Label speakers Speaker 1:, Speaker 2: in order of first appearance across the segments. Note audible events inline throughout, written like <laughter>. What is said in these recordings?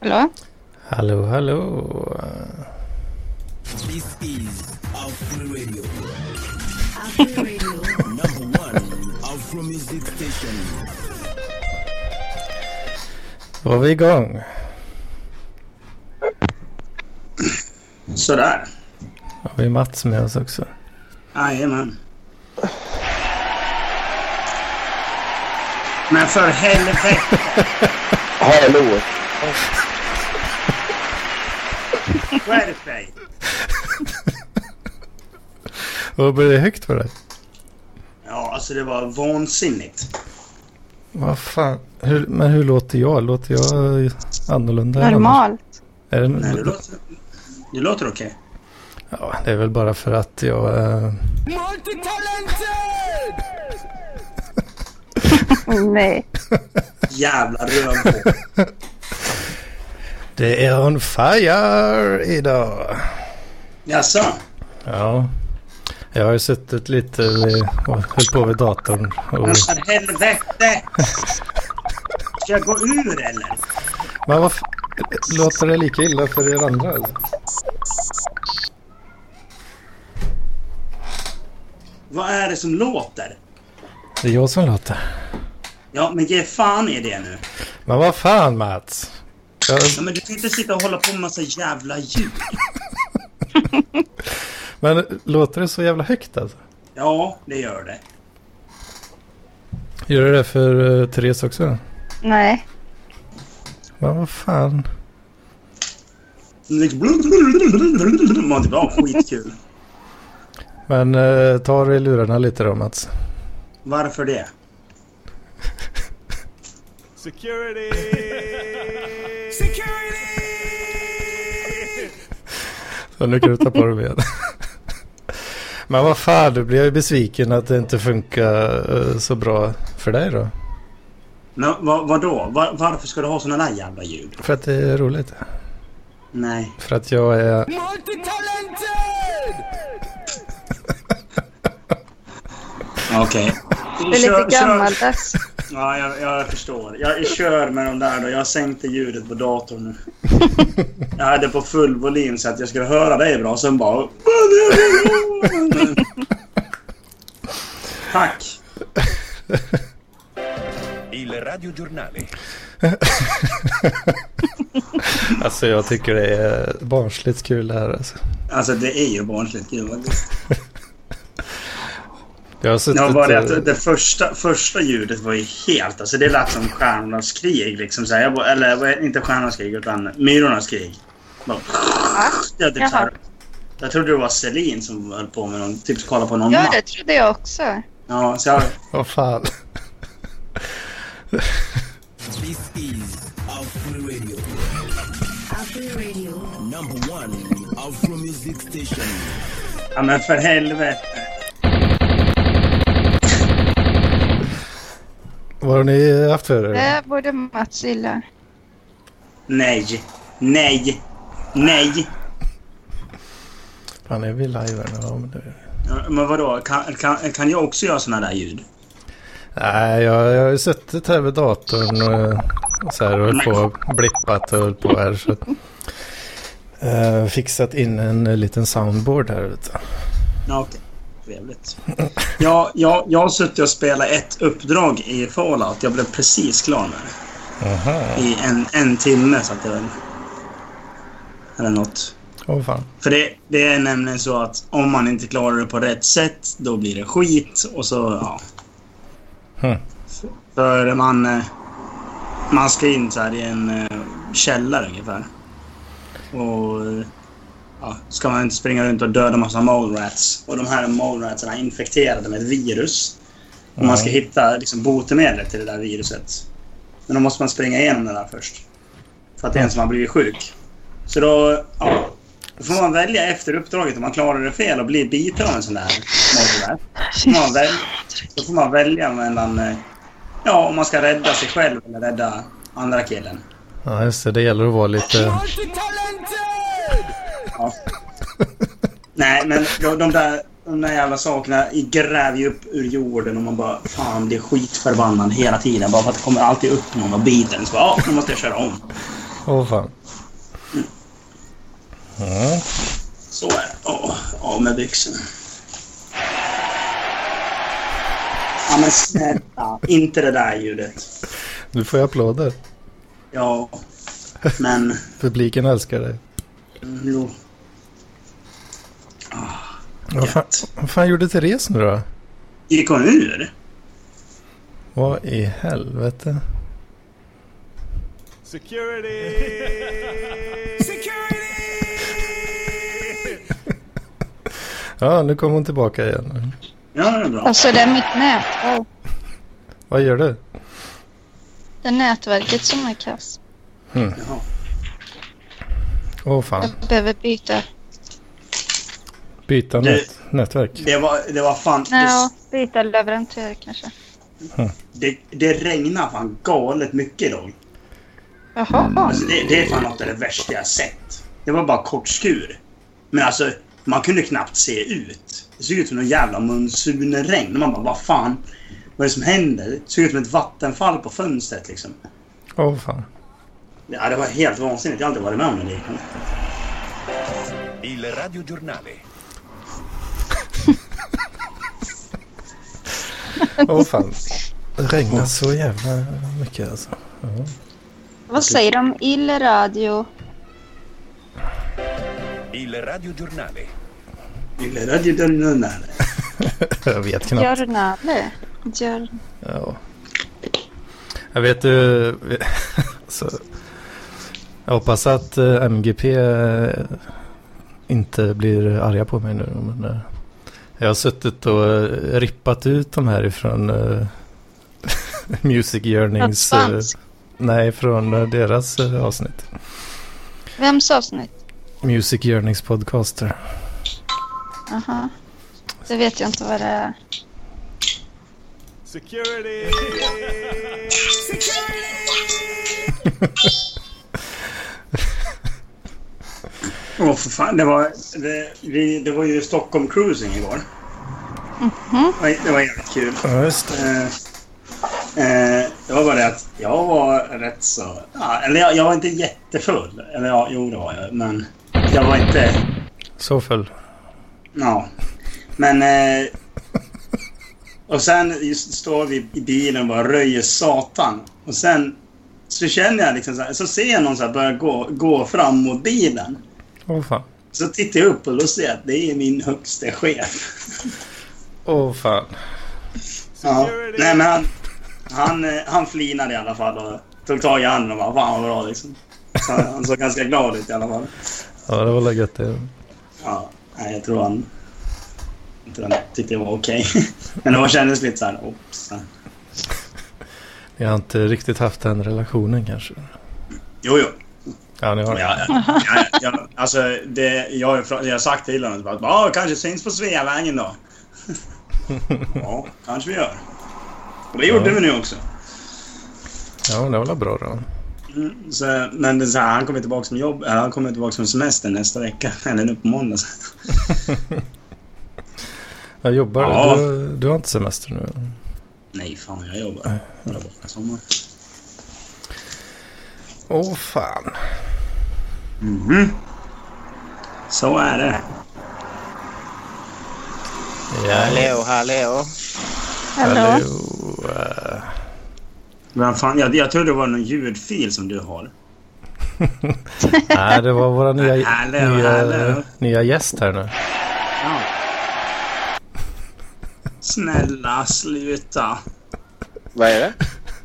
Speaker 1: Hallå?
Speaker 2: Hallå, hallå.
Speaker 3: This is Afro Radio. Afro Radio. Number one Afro Music Station.
Speaker 2: Då var vi igång.
Speaker 3: Sådär.
Speaker 2: Har vi Mats med oss också?
Speaker 3: Jajamän. Men för helvete.
Speaker 4: Hallå!
Speaker 3: Skärp dig.
Speaker 2: Och blir det högt för dig?
Speaker 3: Ja, alltså det var vansinnigt.
Speaker 2: Vad fan. Hur, men hur låter jag? Låter jag annorlunda? än
Speaker 1: Normalt.
Speaker 2: annars? Är det,
Speaker 3: Nej, det låter, det låter okej.
Speaker 2: ja, det är väl bara för att jag... eh,
Speaker 1: Oh, nej.
Speaker 3: Jävla rövhål.
Speaker 2: det är on fire idag.
Speaker 3: Jaså?
Speaker 2: Ja. Jag har ju suttit lite vid, och höll på vid datorn. Och,
Speaker 3: Men för helvete. Ska jag gå ur eller?
Speaker 2: men vad f- Låter det lika illa för er andra? alltså?
Speaker 3: Vad är det som låter?
Speaker 2: Det är jag som låter.
Speaker 3: Ja, men ge fan i det nu.
Speaker 2: Men vad fan Mats? Jag,
Speaker 3: Ja, men du kan inte sitta och hålla på med massa jävla ljud.
Speaker 2: men låter det så jävla högt alltså?
Speaker 3: Ja, det gör det.
Speaker 2: Gör du det för uh, Therese också?
Speaker 1: Nej.
Speaker 2: Men vad fan.
Speaker 3: Liksom Man typ, ja, skitkul.
Speaker 2: Men eh, ta dig i lurarna lite då Mats.
Speaker 3: Varför det?
Speaker 5: Security! Security!
Speaker 2: Så nu kan du ta på dig med. <laughs> Men vad fan, du blir ju besviken att det inte funkar eh, så bra för dig då.
Speaker 3: Men vad, vadå? Var, varför ska du ha såna där jävla ljud?
Speaker 2: För att det är roligt.
Speaker 3: Nej.
Speaker 2: För att jag är...
Speaker 3: Okej.
Speaker 1: Det är lite gammaldags.
Speaker 3: Ja, jag, jag förstår. Jag kör med de där då. Jag sänkte ljudet på datorn nu. Jag hade på full volym så att jag skulle höra dig bra. Sen bara... Tack.
Speaker 5: Il radiogiornale.
Speaker 2: Alltså jag tycker det är barnsligt kul det här alltså.
Speaker 3: Alltså det är ju barnsligt kul faktiskt.
Speaker 2: Jag har suttit...
Speaker 3: Ja, bara det
Speaker 2: eh,
Speaker 3: att det första, första ljudet var ju helt... Alltså det lät som Stjärnornas krig. Liksom, så här. Jag bara, eller vad- inte Stjärnornas krig, utan Myrornas krig. Bara, jag, typ, så här, jag trodde det var Celine som höll på med någon, typ kolla på någon
Speaker 1: Ja,
Speaker 3: mapp.
Speaker 1: det trodde jag också.
Speaker 3: Ja, så jag,
Speaker 2: Vad fan.
Speaker 6: This is Afro Radio. Afro Radio. Number one Afro Music Station.
Speaker 3: ja, men för helvete.
Speaker 2: Vad har ni haft för er?
Speaker 1: Det borde Mats gilla.
Speaker 3: Nej. Nej. Nej.
Speaker 2: Fan, är vi live här nu? Ja, men det...
Speaker 3: Ja, Men vadå, kan, kan, kan jag också göra såna där ljud?
Speaker 2: Nej, jag, jag har ju suttit här vid datorn och, och så här och höll på och blippat och höll på här. Så, Eh, fixat in en eh, liten soundboard här ute.
Speaker 3: Ja, okej. Trevligt. Ja, jag, jag har suttit och spelat ett uppdrag i Fallout. Jag blev precis klar med det. I en, en timme satt jag väl. Eller något.
Speaker 2: Åh fan.
Speaker 3: För det, det är nämligen så att om man inte klarar det på rätt sätt, då blir det skit och så, ja.
Speaker 2: Hmm.
Speaker 3: För man... eh, Man ska in så här i en eh, källare ungefär. Och... eh, Ja, ska man inte springa runt och döda massa mole rats. Och de här mole ratsen är infekterade med ett virus. Och man ska hitta liksom, botemedlet till det där viruset. Men då måste man springa igenom det där först. För att det är en som har blivit sjuk. Så då... Ja, då får man välja efter uppdraget om man klarar det fel och blir biten av en sån där mordrat. Så får man väl- Då får man välja mellan eh, ja, om man ska rädda sig själv eller rädda andra killen.
Speaker 2: Ja, just det. Det gäller att vara lite...
Speaker 3: Ja. Nej, men de, de, där, de där jävla sakerna gräver ju upp ur jorden och man bara fan blir skitförbannad hela tiden. Bara för att det kommer alltid upp någon och biter en. Så bara, ja, nu måste jag köra om.
Speaker 2: Åh fan. Ja.
Speaker 3: Så är det. Åh, av med byxorna. Ja, men snälla. Inte det där ljudet.
Speaker 2: Du får ju applåder.
Speaker 3: Ja, men...
Speaker 2: Publiken älskar dig.
Speaker 3: mm, Jo.
Speaker 2: Vad fan,
Speaker 3: Gött.
Speaker 2: vad fan gjorde Therese nu då?
Speaker 3: Gick hon ur?
Speaker 2: Vad i helvete?
Speaker 5: Security! Security!
Speaker 2: <laughs> Ja, nu kommer hon tillbaka igen.
Speaker 3: Ja, det är bra.
Speaker 1: Alltså det är mitt nätverk.
Speaker 2: Vad gör du?
Speaker 1: Det är nätverket som är kass.
Speaker 3: Jaha.
Speaker 2: Åh fan,
Speaker 1: Jag behöver byta.
Speaker 2: byta
Speaker 3: Du-
Speaker 2: nät, nätverk.
Speaker 3: Det var, det var fan...
Speaker 1: Ja, byta leverantör kanske.
Speaker 3: Det, det regnar fan galet mycket idag.
Speaker 1: Jaha.
Speaker 3: Alltså, det, det är fan något av det värsta jag sett. Det var bara kortskur. Men alltså, man kunde knappt se ut. Det såg ut som någon jävla monsunregn. Man bara, vad fan? Vad är det som händer? Det såg ut som ett vattenfall på fönstret liksom.
Speaker 2: Åh fan.
Speaker 3: Ja, det var helt vansinnigt. Jag har aldrig varit med om det liknande.
Speaker 5: Il radiogiornale.
Speaker 2: Åh fan. Det regnar så jävla mycket alltså. <laughs>
Speaker 1: Vad säger de? Il radio.
Speaker 5: Il radiogiornale.
Speaker 3: Lilla radiodunnarna.
Speaker 2: Jag vet knappt.
Speaker 1: Giornale. Gior...
Speaker 2: Ja. Jag vet du... <laughs> Så, jag hoppas att eh, MGP eh, inte blir arga på mig nu. Men, eh, jag har suttit och eh, rippat ut de här ifrån eh, <laughs> Music Yearnings... eh,
Speaker 1: Spansk.
Speaker 2: nej, från eh, deras eh, avsnitt.
Speaker 1: Vems avsnitt?
Speaker 2: Music Yearnings podcaster.
Speaker 1: Aha. Det vet jag inte vad det är.
Speaker 5: Security!
Speaker 3: Åh, för fan. Det var, det, vi, det var ju Stockholm Cruising igår. Det var- Det var jävligt kul.
Speaker 2: Ja, just det.
Speaker 3: Eh, eh, det var bara det att jag var rätt så... Ja, eller jag, jag var inte jättefull. Eller ja, jo det var jag. Men jag var inte...
Speaker 2: Så föll.
Speaker 3: Ja. Men... Eh, och sen just står vi i bilen och bara röjer satan. Och sen så känner jag liksom så här, Så ser jag någon så här börja gå, gå fram mot bilen.
Speaker 2: Åh fan.
Speaker 3: Så tittar jag upp och då ser jag att det är min högste chef.
Speaker 2: Åh fan.
Speaker 3: Ja.
Speaker 5: Security!
Speaker 3: Nej, men han, han, eh, han flinade i alla fall och tog tag i handen och bara “Fan vad bra” liksom. Så han, han såg ganska glad ut i alla fall.
Speaker 2: Ja, det var väl gött det.
Speaker 3: Ja, nej, jag tror han... Jag tror han tyckte det var okej. <laughs> men det var kändes lite såhär “Oops”.
Speaker 2: Ni har inte riktigt haft den relationen kanske.
Speaker 3: Jo, jo.
Speaker 2: Ja, ni har
Speaker 3: Ja, ja, ja, ja, alltså, det, jag, har ju fra- jag har sagt till honom att “Ja, kanske syns på Sveavägen då”. <laughs> ja, kanske vi gör. Och det gjorde
Speaker 2: Ja.
Speaker 3: vi nu också.
Speaker 2: Ja, men det var väl bra då.
Speaker 3: Mm, Så, men det, är så här, han kommer tillbaka som jobb, äh, han kommer tillbaka som semester nästa vecka. <laughs> Eller nu på måndag. Så.
Speaker 2: Jag jobbar.
Speaker 3: Ja.
Speaker 2: Du, du har inte semester nu?
Speaker 3: Nej, fan jag jobbar. Jag jobbar på sommar.
Speaker 2: Åh fan.
Speaker 3: Mhm. Så är det.
Speaker 7: Hallå, hallå.
Speaker 1: Hallå?
Speaker 3: Men fan, jag, jag tror det var någon ljudfil som du har.
Speaker 2: Nej, det var våra nya,
Speaker 3: Hallå,
Speaker 2: nya,
Speaker 3: hallå.
Speaker 2: nya gäst här nu.
Speaker 3: Ja. Snälla, sluta.
Speaker 7: Vad är det?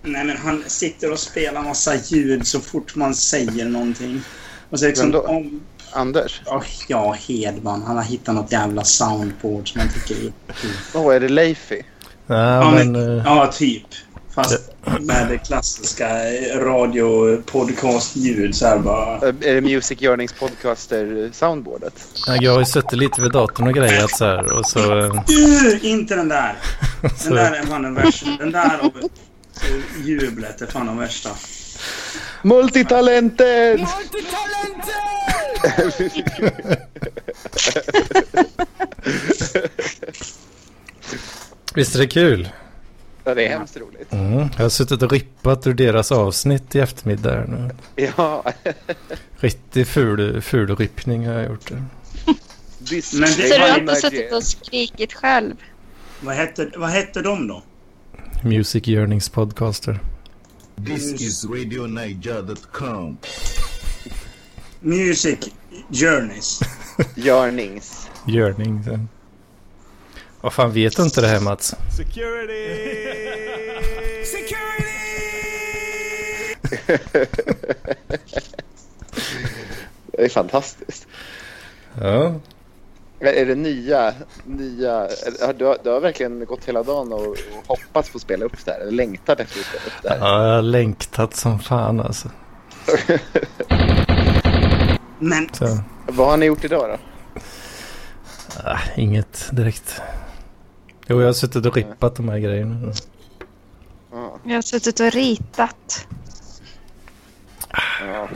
Speaker 3: Nej, men han sitter och spelar massa ljud så fort man säger någonting. Och så
Speaker 7: Vem
Speaker 3: liksom,
Speaker 7: då?
Speaker 3: om,
Speaker 7: Anders?
Speaker 3: oh, ja, Hedman. Han har hittat något jävla soundboard som han tycker är kul.
Speaker 7: Åh, är det Leify?
Speaker 2: Nej,
Speaker 3: Ja,
Speaker 2: men,
Speaker 3: men,
Speaker 2: eh,
Speaker 3: ja typ. Fast med det klassiska eh, radio podcastljud så här bara.
Speaker 7: Äh, Är det Music Yearnings podcaster eh, soundboardet?
Speaker 2: jag har ju suttit lite vid datorn och grejat så här. Och så, eh,
Speaker 3: Uh, inte den där! Den
Speaker 2: så,
Speaker 3: där är fan den värsta. Den där och eh, jublet är fan den värsta.
Speaker 7: Multitalented!
Speaker 2: visst är det kul?
Speaker 7: Ja, det är hemskt roligt.
Speaker 2: Mm. Jag har suttit och rippat ur deras avsnitt i eftermiddag här nu.
Speaker 7: Ja, <laughs>
Speaker 2: Riktig ful, ful rippning har jag gjort. det.
Speaker 7: this
Speaker 3: Men det-
Speaker 1: Så du har
Speaker 7: time
Speaker 1: inte suttit
Speaker 7: again.
Speaker 1: och skrikit själv?
Speaker 3: Vad hette, vad hette de då?
Speaker 2: Music Yearnings Podcaster.
Speaker 6: This is RadioNiger.com.
Speaker 3: Music Journeys.
Speaker 7: Görnings.
Speaker 2: Yearning. så. Vad fan vet du inte det här Mats?
Speaker 5: Security! Security!
Speaker 7: Det är fantastiskt.
Speaker 2: Ja.
Speaker 7: Men Är det nya, nya, har du, du har verkligen gått hela dagen och, och hoppats på att spela upp det här, eller längtat efter att spela upp det här.
Speaker 2: ja, jag har längtat som fan alltså.
Speaker 3: Men
Speaker 2: Så.
Speaker 7: Vad har ni gjort idag då?
Speaker 2: Ah, inget direkt. Jo, jag har suttit och rippat de här grejerna.
Speaker 1: Jag har suttit och ritat.
Speaker 7: Ja,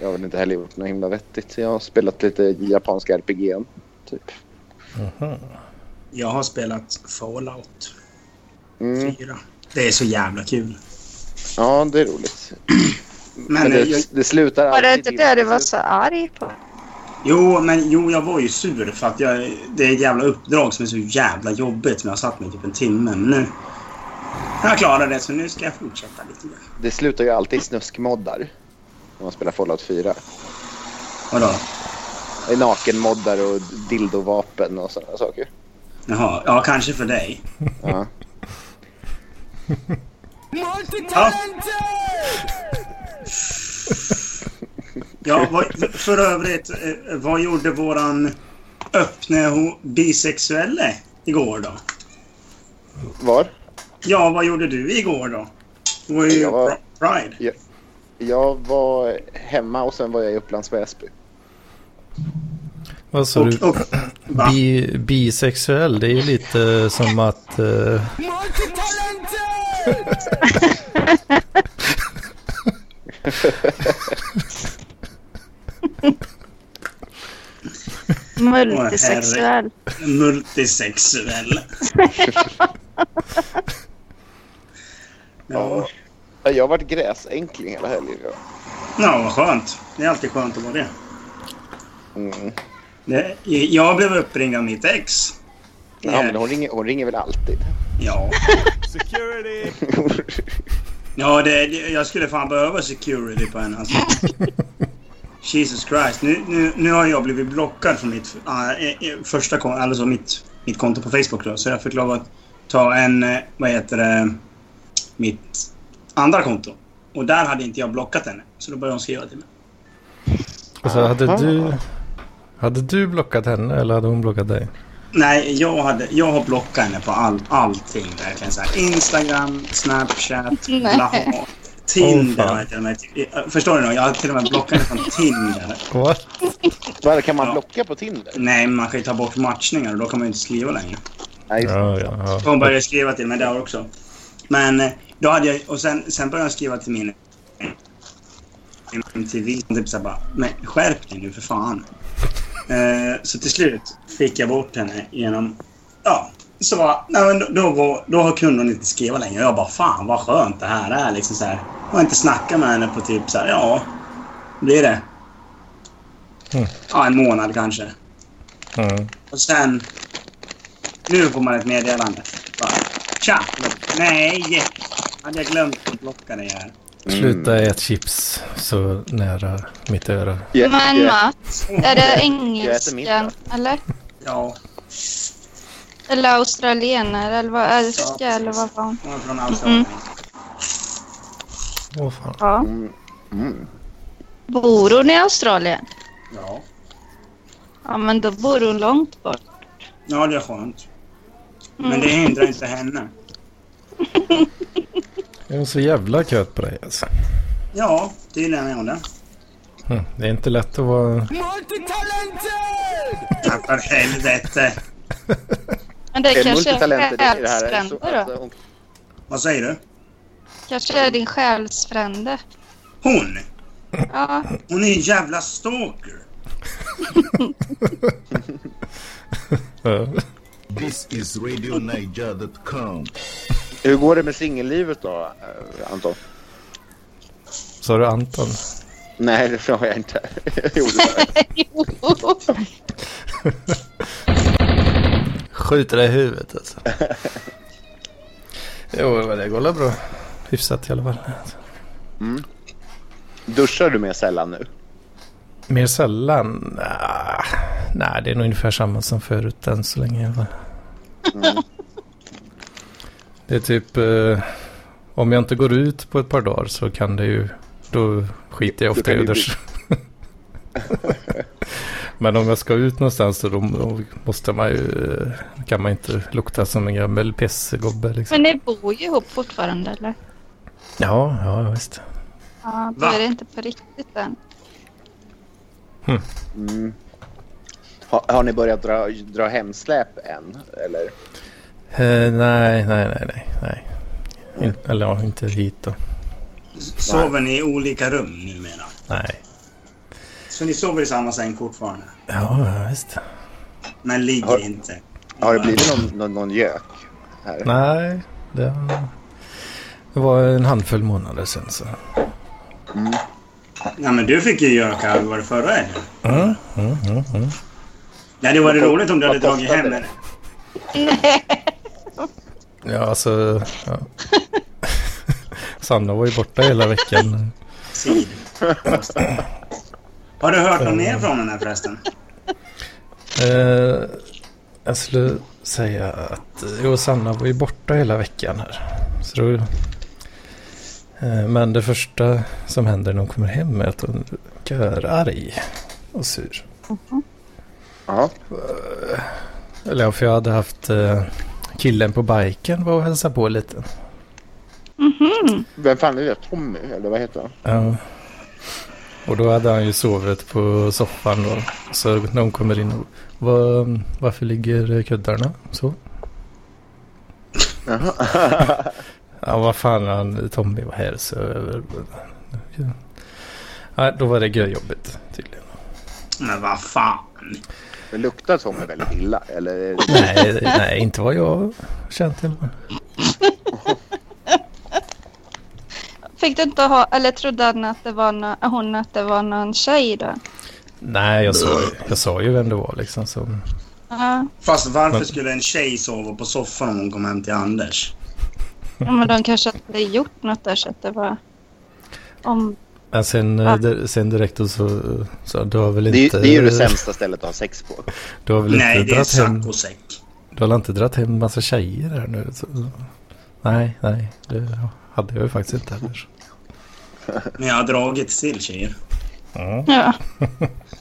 Speaker 7: jag har väl inte heller gjort något himla vettigt. Jag har spelat lite japanska RPG, typ.
Speaker 3: jag har spelat Fallout
Speaker 7: Mm.
Speaker 3: 4. Det är så jävla kul.
Speaker 7: Ja, det är roligt.
Speaker 3: Men,
Speaker 7: Men
Speaker 3: eh, jag,
Speaker 7: det, det slutar
Speaker 1: Var det
Speaker 7: alltid
Speaker 1: inte
Speaker 7: i-
Speaker 1: det du var så arg på?
Speaker 3: jo, men jo, jag var ju sur för att jag, det är ett jävla uppdrag som är så jävla jobbigt som jag har satt mig typ en timme. Men nu har jag klarat det så nu ska jag fortsätta lite grann.
Speaker 7: Det slutar ju alltid i snuskmoddar. När man spelar Fallout 4.
Speaker 3: Vadå?
Speaker 7: Det är Nakenmoddar och dildovapen och sådana saker.
Speaker 3: Jaha, ja kanske för dig.
Speaker 7: Ja.
Speaker 3: Ja. Ja, vad, för övrigt, eh, vad gjorde våran öppne ho- bisexuelle igår då?
Speaker 7: Var?
Speaker 3: Ja, vad gjorde du igår då? Det var ju
Speaker 7: Jag var-
Speaker 3: Pri- Pride.
Speaker 7: Jag var hemma och sen var jag i Upplands Väsby.
Speaker 2: Vad sa du?
Speaker 3: Och, och, va?
Speaker 2: Bi, bisexuell, det är ju lite som att... eh,
Speaker 1: Multisexuell.
Speaker 3: Multisexuell. ja.
Speaker 7: Ja, Jag har varit gräsänkling hela helgen. ja.
Speaker 3: ja, vad skönt. Det är alltid skönt att vara det.
Speaker 7: Mm.
Speaker 3: det jag blev uppringd av mitt ex.
Speaker 7: Ja, men hon, ringer, hon ringer väl alltid? <laughs>
Speaker 3: Ja.
Speaker 5: Security!
Speaker 3: Ja, det, det, jag skulle fan behöva security på henne alltså. Jesus Christ. Nu, nu, nu har jag blivit blockad från mitt äh, eh, första konto, alltså mitt, mitt konto på Facebook då. Så jag fick lov att ta en, eh, vad heter det, mitt andra konto. Och där hade inte jag blockat henne. Så då började hon skriva till mig.
Speaker 2: Alltså, hade du... Hade du blockat henne eller hade hon blockat dig?
Speaker 3: Nej, jag, hade, jag har blockat henne på all, allting verkligen. Så här, Instagram, Snapchat,
Speaker 1: Nej.
Speaker 3: blaha.
Speaker 2: Åh,
Speaker 3: Tinder
Speaker 2: fan.
Speaker 3: har jag till och med... eh, Förstår du? nu? Jag har till och med blockat henne från Tinder.
Speaker 2: What?
Speaker 7: Vad, Kan man
Speaker 3: Ja.
Speaker 7: blocka på Tinder?
Speaker 3: Nej, men man kan ju ta bort matchningar och då kan man ju inte skriva längre.
Speaker 7: Nej, just det.
Speaker 2: Ja, ja, ja.
Speaker 3: Hon började skriva till mig där också. Men eh, då hade jag... Och sen, sen började jag skriva till min... MTV som typ såhär bara Men skärp dig nu för fan. Eh, så till slut fick jag bort henne genom... Ja. Så bara, nej men då, då, var, då kunde hon inte skriva längre. Och jag bara fan vad skönt det här är liksom så här. Jag har inte snackat med henne på typ så här, ja. Blir det?
Speaker 2: Mm.
Speaker 3: Ja, en månad kanske.
Speaker 2: Mm.
Speaker 3: Och sen... Nu får man ett meddelande. Bara, Tja! Nej! Hade jag glömt att blocka dig här.
Speaker 2: Sluta äta chips så nära mitt öra.
Speaker 7: Jag-
Speaker 1: Men
Speaker 7: jag-
Speaker 1: Mats, är det
Speaker 7: Jag äter middag.
Speaker 1: engelskan eller?
Speaker 3: Ja,
Speaker 1: Eller australienare eller vad är det?
Speaker 3: Ja.
Speaker 1: Eller vad var hon?
Speaker 3: hon är från Australien.
Speaker 2: Åh fan.
Speaker 1: Ja.
Speaker 7: Mm. Mm.
Speaker 1: Bor hon i Australien?
Speaker 3: Ja.
Speaker 1: Ja, men då bor hon långt bort.
Speaker 3: Ja, det är skönt. Men det hindrar inte henne.
Speaker 2: Är hon så jävla köt på dig alltså?
Speaker 3: Ja, tydligen är hon det.
Speaker 2: Hm, Det är inte lätt att vara...
Speaker 3: Ja, för helvete!
Speaker 1: Men det,
Speaker 7: Det är
Speaker 1: kanske är
Speaker 7: multitalenter i det här.
Speaker 1: själsfrände
Speaker 7: Så,
Speaker 1: då?
Speaker 7: alltså, hon,
Speaker 3: Vad säger du?
Speaker 1: Kanske är din själsfrände?
Speaker 3: Hon!
Speaker 1: Ja,
Speaker 3: Hon är en jävla stalker!
Speaker 2: Ja. eh,
Speaker 6: This is RadioNiger.com.
Speaker 7: Hur går det med singellivet då, eh, Anton?
Speaker 2: Sa du Anton?
Speaker 7: Nej, det har jag inte. <laughs> Jag gjorde det.
Speaker 1: Jo.
Speaker 2: Skjuter dig i huvudet alltså. <laughs> jo, men det går väl bra. Hyfsat i alla fall.
Speaker 7: Duschar du mer sällan nu?
Speaker 2: Mer sällan? Ah, nej, det är nog ungefär samma som förut än så länge i alla fall. <laughs> Det är typ... Eh, om jag inte går ut på ett par dagar så kan det ju... Då skiter jag
Speaker 7: Då
Speaker 2: ofta
Speaker 7: kan
Speaker 2: i
Speaker 7: det
Speaker 2: att
Speaker 7: bli-
Speaker 2: duscha. <laughs> Men om jag ska ut någonstans så då, då måste man ju... eh, Kan man inte lukta som en gammal pissgobbe
Speaker 1: Men
Speaker 2: liksom.
Speaker 1: ni bor ju ihop fortfarande eller?
Speaker 2: Ja, ja visst.
Speaker 1: Ja, då
Speaker 3: Va?
Speaker 1: är det inte på riktigt än.
Speaker 7: Har, har ni börjat dra, dra hemsläp än? Eller?
Speaker 2: Eh, nej, nej, nej, nej. nej. In, eller ja, inte hit då.
Speaker 3: Sover ni i olika rum numera?
Speaker 2: Nej.
Speaker 3: Så ni sover i samma säng fortfarande?
Speaker 2: Ja, ja, visst.
Speaker 3: Men ligger
Speaker 7: Har-
Speaker 3: inte?
Speaker 7: Har det blivit någon, någon, någon gök? Här?
Speaker 2: Nej, det, det var en handfull månader sedan så.
Speaker 3: Nej, men du fick ju göra kalv, var det förra helgen?
Speaker 2: Mm, mm, mm, mm.
Speaker 3: Det hade ju varit roligt om du hade
Speaker 7: Vad
Speaker 3: dragit
Speaker 7: kostade
Speaker 3: hem
Speaker 7: det?
Speaker 3: det.
Speaker 2: Ja, alltså. Ja. <laughs> Sanna var ju borta hela veckan.
Speaker 7: <laughs>
Speaker 3: Sid. Har du hört något mer från den här förresten?
Speaker 2: Eh, jag skulle säga att eh, jo, Sanna var ju borta hela veckan här. Så då, eh, men det första som händer när hon kommer hem är att hon är arg och sur.
Speaker 7: Ja.
Speaker 2: Eller ja, för jag hade haft eh, killen på biken var och hälsade på lite.
Speaker 7: Vem fan är det? Tommy? Eller vad heter han?
Speaker 2: Ja. Och då hade han ju sovit på soffan då. Så när hon kommer in och "Va- varför ligger kuddarna så? <laughs> ja vad fan han Tommy var här så. Ja, då var det görjobbigt tydligen.
Speaker 3: Men vad fan.
Speaker 7: Det luktar Tommy väldigt illa? Eller är det-
Speaker 2: Nej, <laughs> nej inte vad jag känt till.
Speaker 1: Fick du inte ha, eller trodde han att det var nå- hon att det var någon tjej då?
Speaker 2: Nej jag sa, jag sa ju vem det var liksom. Så.
Speaker 1: Ja,
Speaker 3: Fast varför
Speaker 2: Men-
Speaker 3: skulle en tjej sova på soffan om hon kom hem till Anders?
Speaker 1: ja men de kanske hade gjort något där så att det var om...
Speaker 2: Men sen, eh,
Speaker 3: Ah.
Speaker 1: Ja.
Speaker 2: di- sen direkt och så sa du har väl
Speaker 7: Det, är-
Speaker 2: inte.
Speaker 7: det är ju det sämsta stället att ha sex på.
Speaker 2: Du har väl
Speaker 3: Nej,
Speaker 2: inte
Speaker 3: det är
Speaker 2: dragit hem.
Speaker 3: sack och säck.
Speaker 2: Du har inte dragit hem massa tjejer här nu? Så, nej, nej. Det hade jag ju faktiskt inte heller.
Speaker 3: Men jag har dragit till tjejer.
Speaker 1: Ja.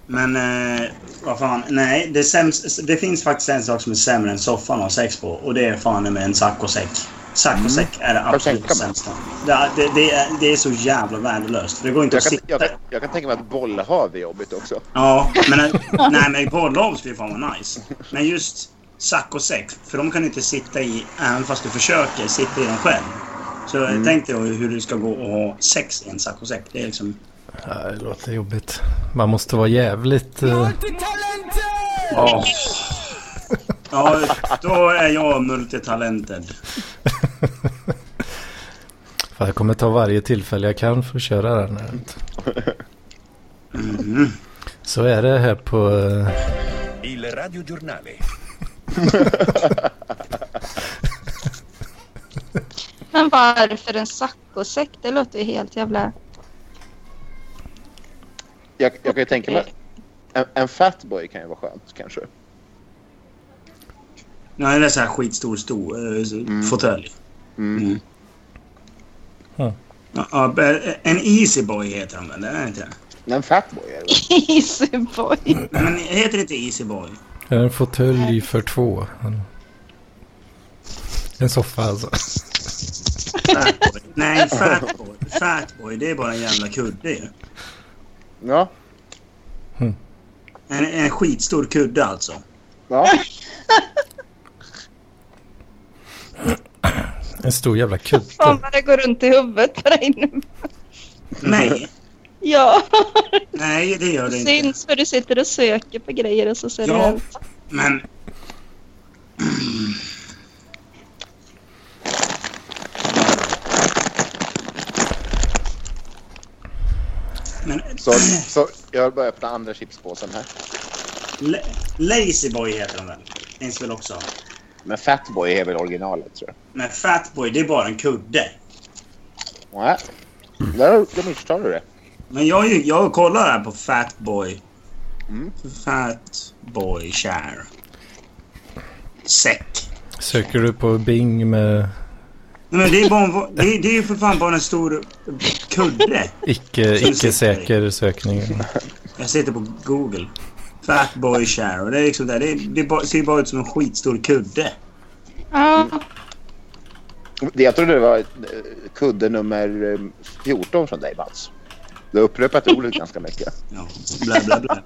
Speaker 3: Men eh, vad fan. Nej, det, säms, det finns faktiskt en sak som är sämre än soffan att ha sex på. Och det är fan med en sack och säck. Sack och säck är det absolut
Speaker 7: tänka mig.
Speaker 3: sämsta. Det, det, det, är, det är så jävla värdelöst. För det går inte
Speaker 7: Jag
Speaker 3: att
Speaker 7: kan,
Speaker 3: sitta...
Speaker 7: jag, kan, jag kan tänka mig att bollhav är jobbigt också.
Speaker 3: Ja, men... eh, nej, men porrlag skulle fan vara nice. Men just sack och säck. För de kan du inte sitta i, även fast du försöker, sitta i dem själv. Så tänk dig hur du ska gå och ha sex i en sack och säck. Det är liksom...
Speaker 2: Ja, det låter jobbigt. Man måste vara jävligt... eh,
Speaker 3: Ja. Ja, då är jag multitalented.
Speaker 2: Fan, jag kommer ta varje tillfälle jag kan för att köra den här. Mm. Så är det här på... eh,
Speaker 5: Il radiogiornale.
Speaker 1: Men varför en saccosäck? Det låter ju helt jävla...
Speaker 7: Jag, jag kan ju tänka mig... En, en fatboy kan ju vara skönt kanske.
Speaker 3: Nej, det är så här skitstor stor eh, fåtölj. Mm.
Speaker 2: Ja.
Speaker 3: Ja, ja, eh, en easy boy heter de väl? Det är inte det?
Speaker 7: Nej, En fatboy är det väl?
Speaker 1: Easyboy.
Speaker 3: Nej, Men heter det inte easy boy?
Speaker 2: är det En fåtölj för två. En soffa alltså.
Speaker 3: Fat boy. <laughs> Nej, fat boy. Fat boy, det är bara en jävla kudde ju.
Speaker 7: Ja.
Speaker 3: En, en skitstor kudde alltså.
Speaker 7: ja.
Speaker 2: En stor jävla kudde.
Speaker 1: Fan vad det går runt i huvudet på dig nu.
Speaker 3: Nej,
Speaker 1: Ja,
Speaker 3: nej det gör det
Speaker 1: det
Speaker 3: inte.
Speaker 1: syns för du sitter och söker på grejer och så ser
Speaker 3: Ja.
Speaker 1: du helt...
Speaker 3: Men... Men
Speaker 7: Så,
Speaker 3: <clears throat>
Speaker 7: så jag börjar öppna andra chipspåsen här.
Speaker 3: La- Lazyboy heter den väl? Finns väl också.
Speaker 7: Men Fatboy är väl originalet tror jag.
Speaker 3: Men Fatboy, det är bara en kudde.
Speaker 7: Nej, där, där misstar du det.
Speaker 3: Men jag, är ju- jag kollar här på Fatboy.
Speaker 7: Mm.
Speaker 3: Fatboy share. Säck.
Speaker 2: Söker du på Bing med
Speaker 3: Nej, men det är, bara, det, är, det är ju för fan bara en stor kudde.
Speaker 2: icke, icke-säker sökning?
Speaker 3: Jag sitter på Google. Fatboy share. Och det, är liksom där. det, är- det är bara, ser ju bara ut som en skitstor kudde.
Speaker 1: Ja,
Speaker 7: Det- Jag trodde det var eh, kudde nummer eh, 14 från dig Mats. Du har upprepat ordet ganska mycket.
Speaker 3: Ja, bla bla bla.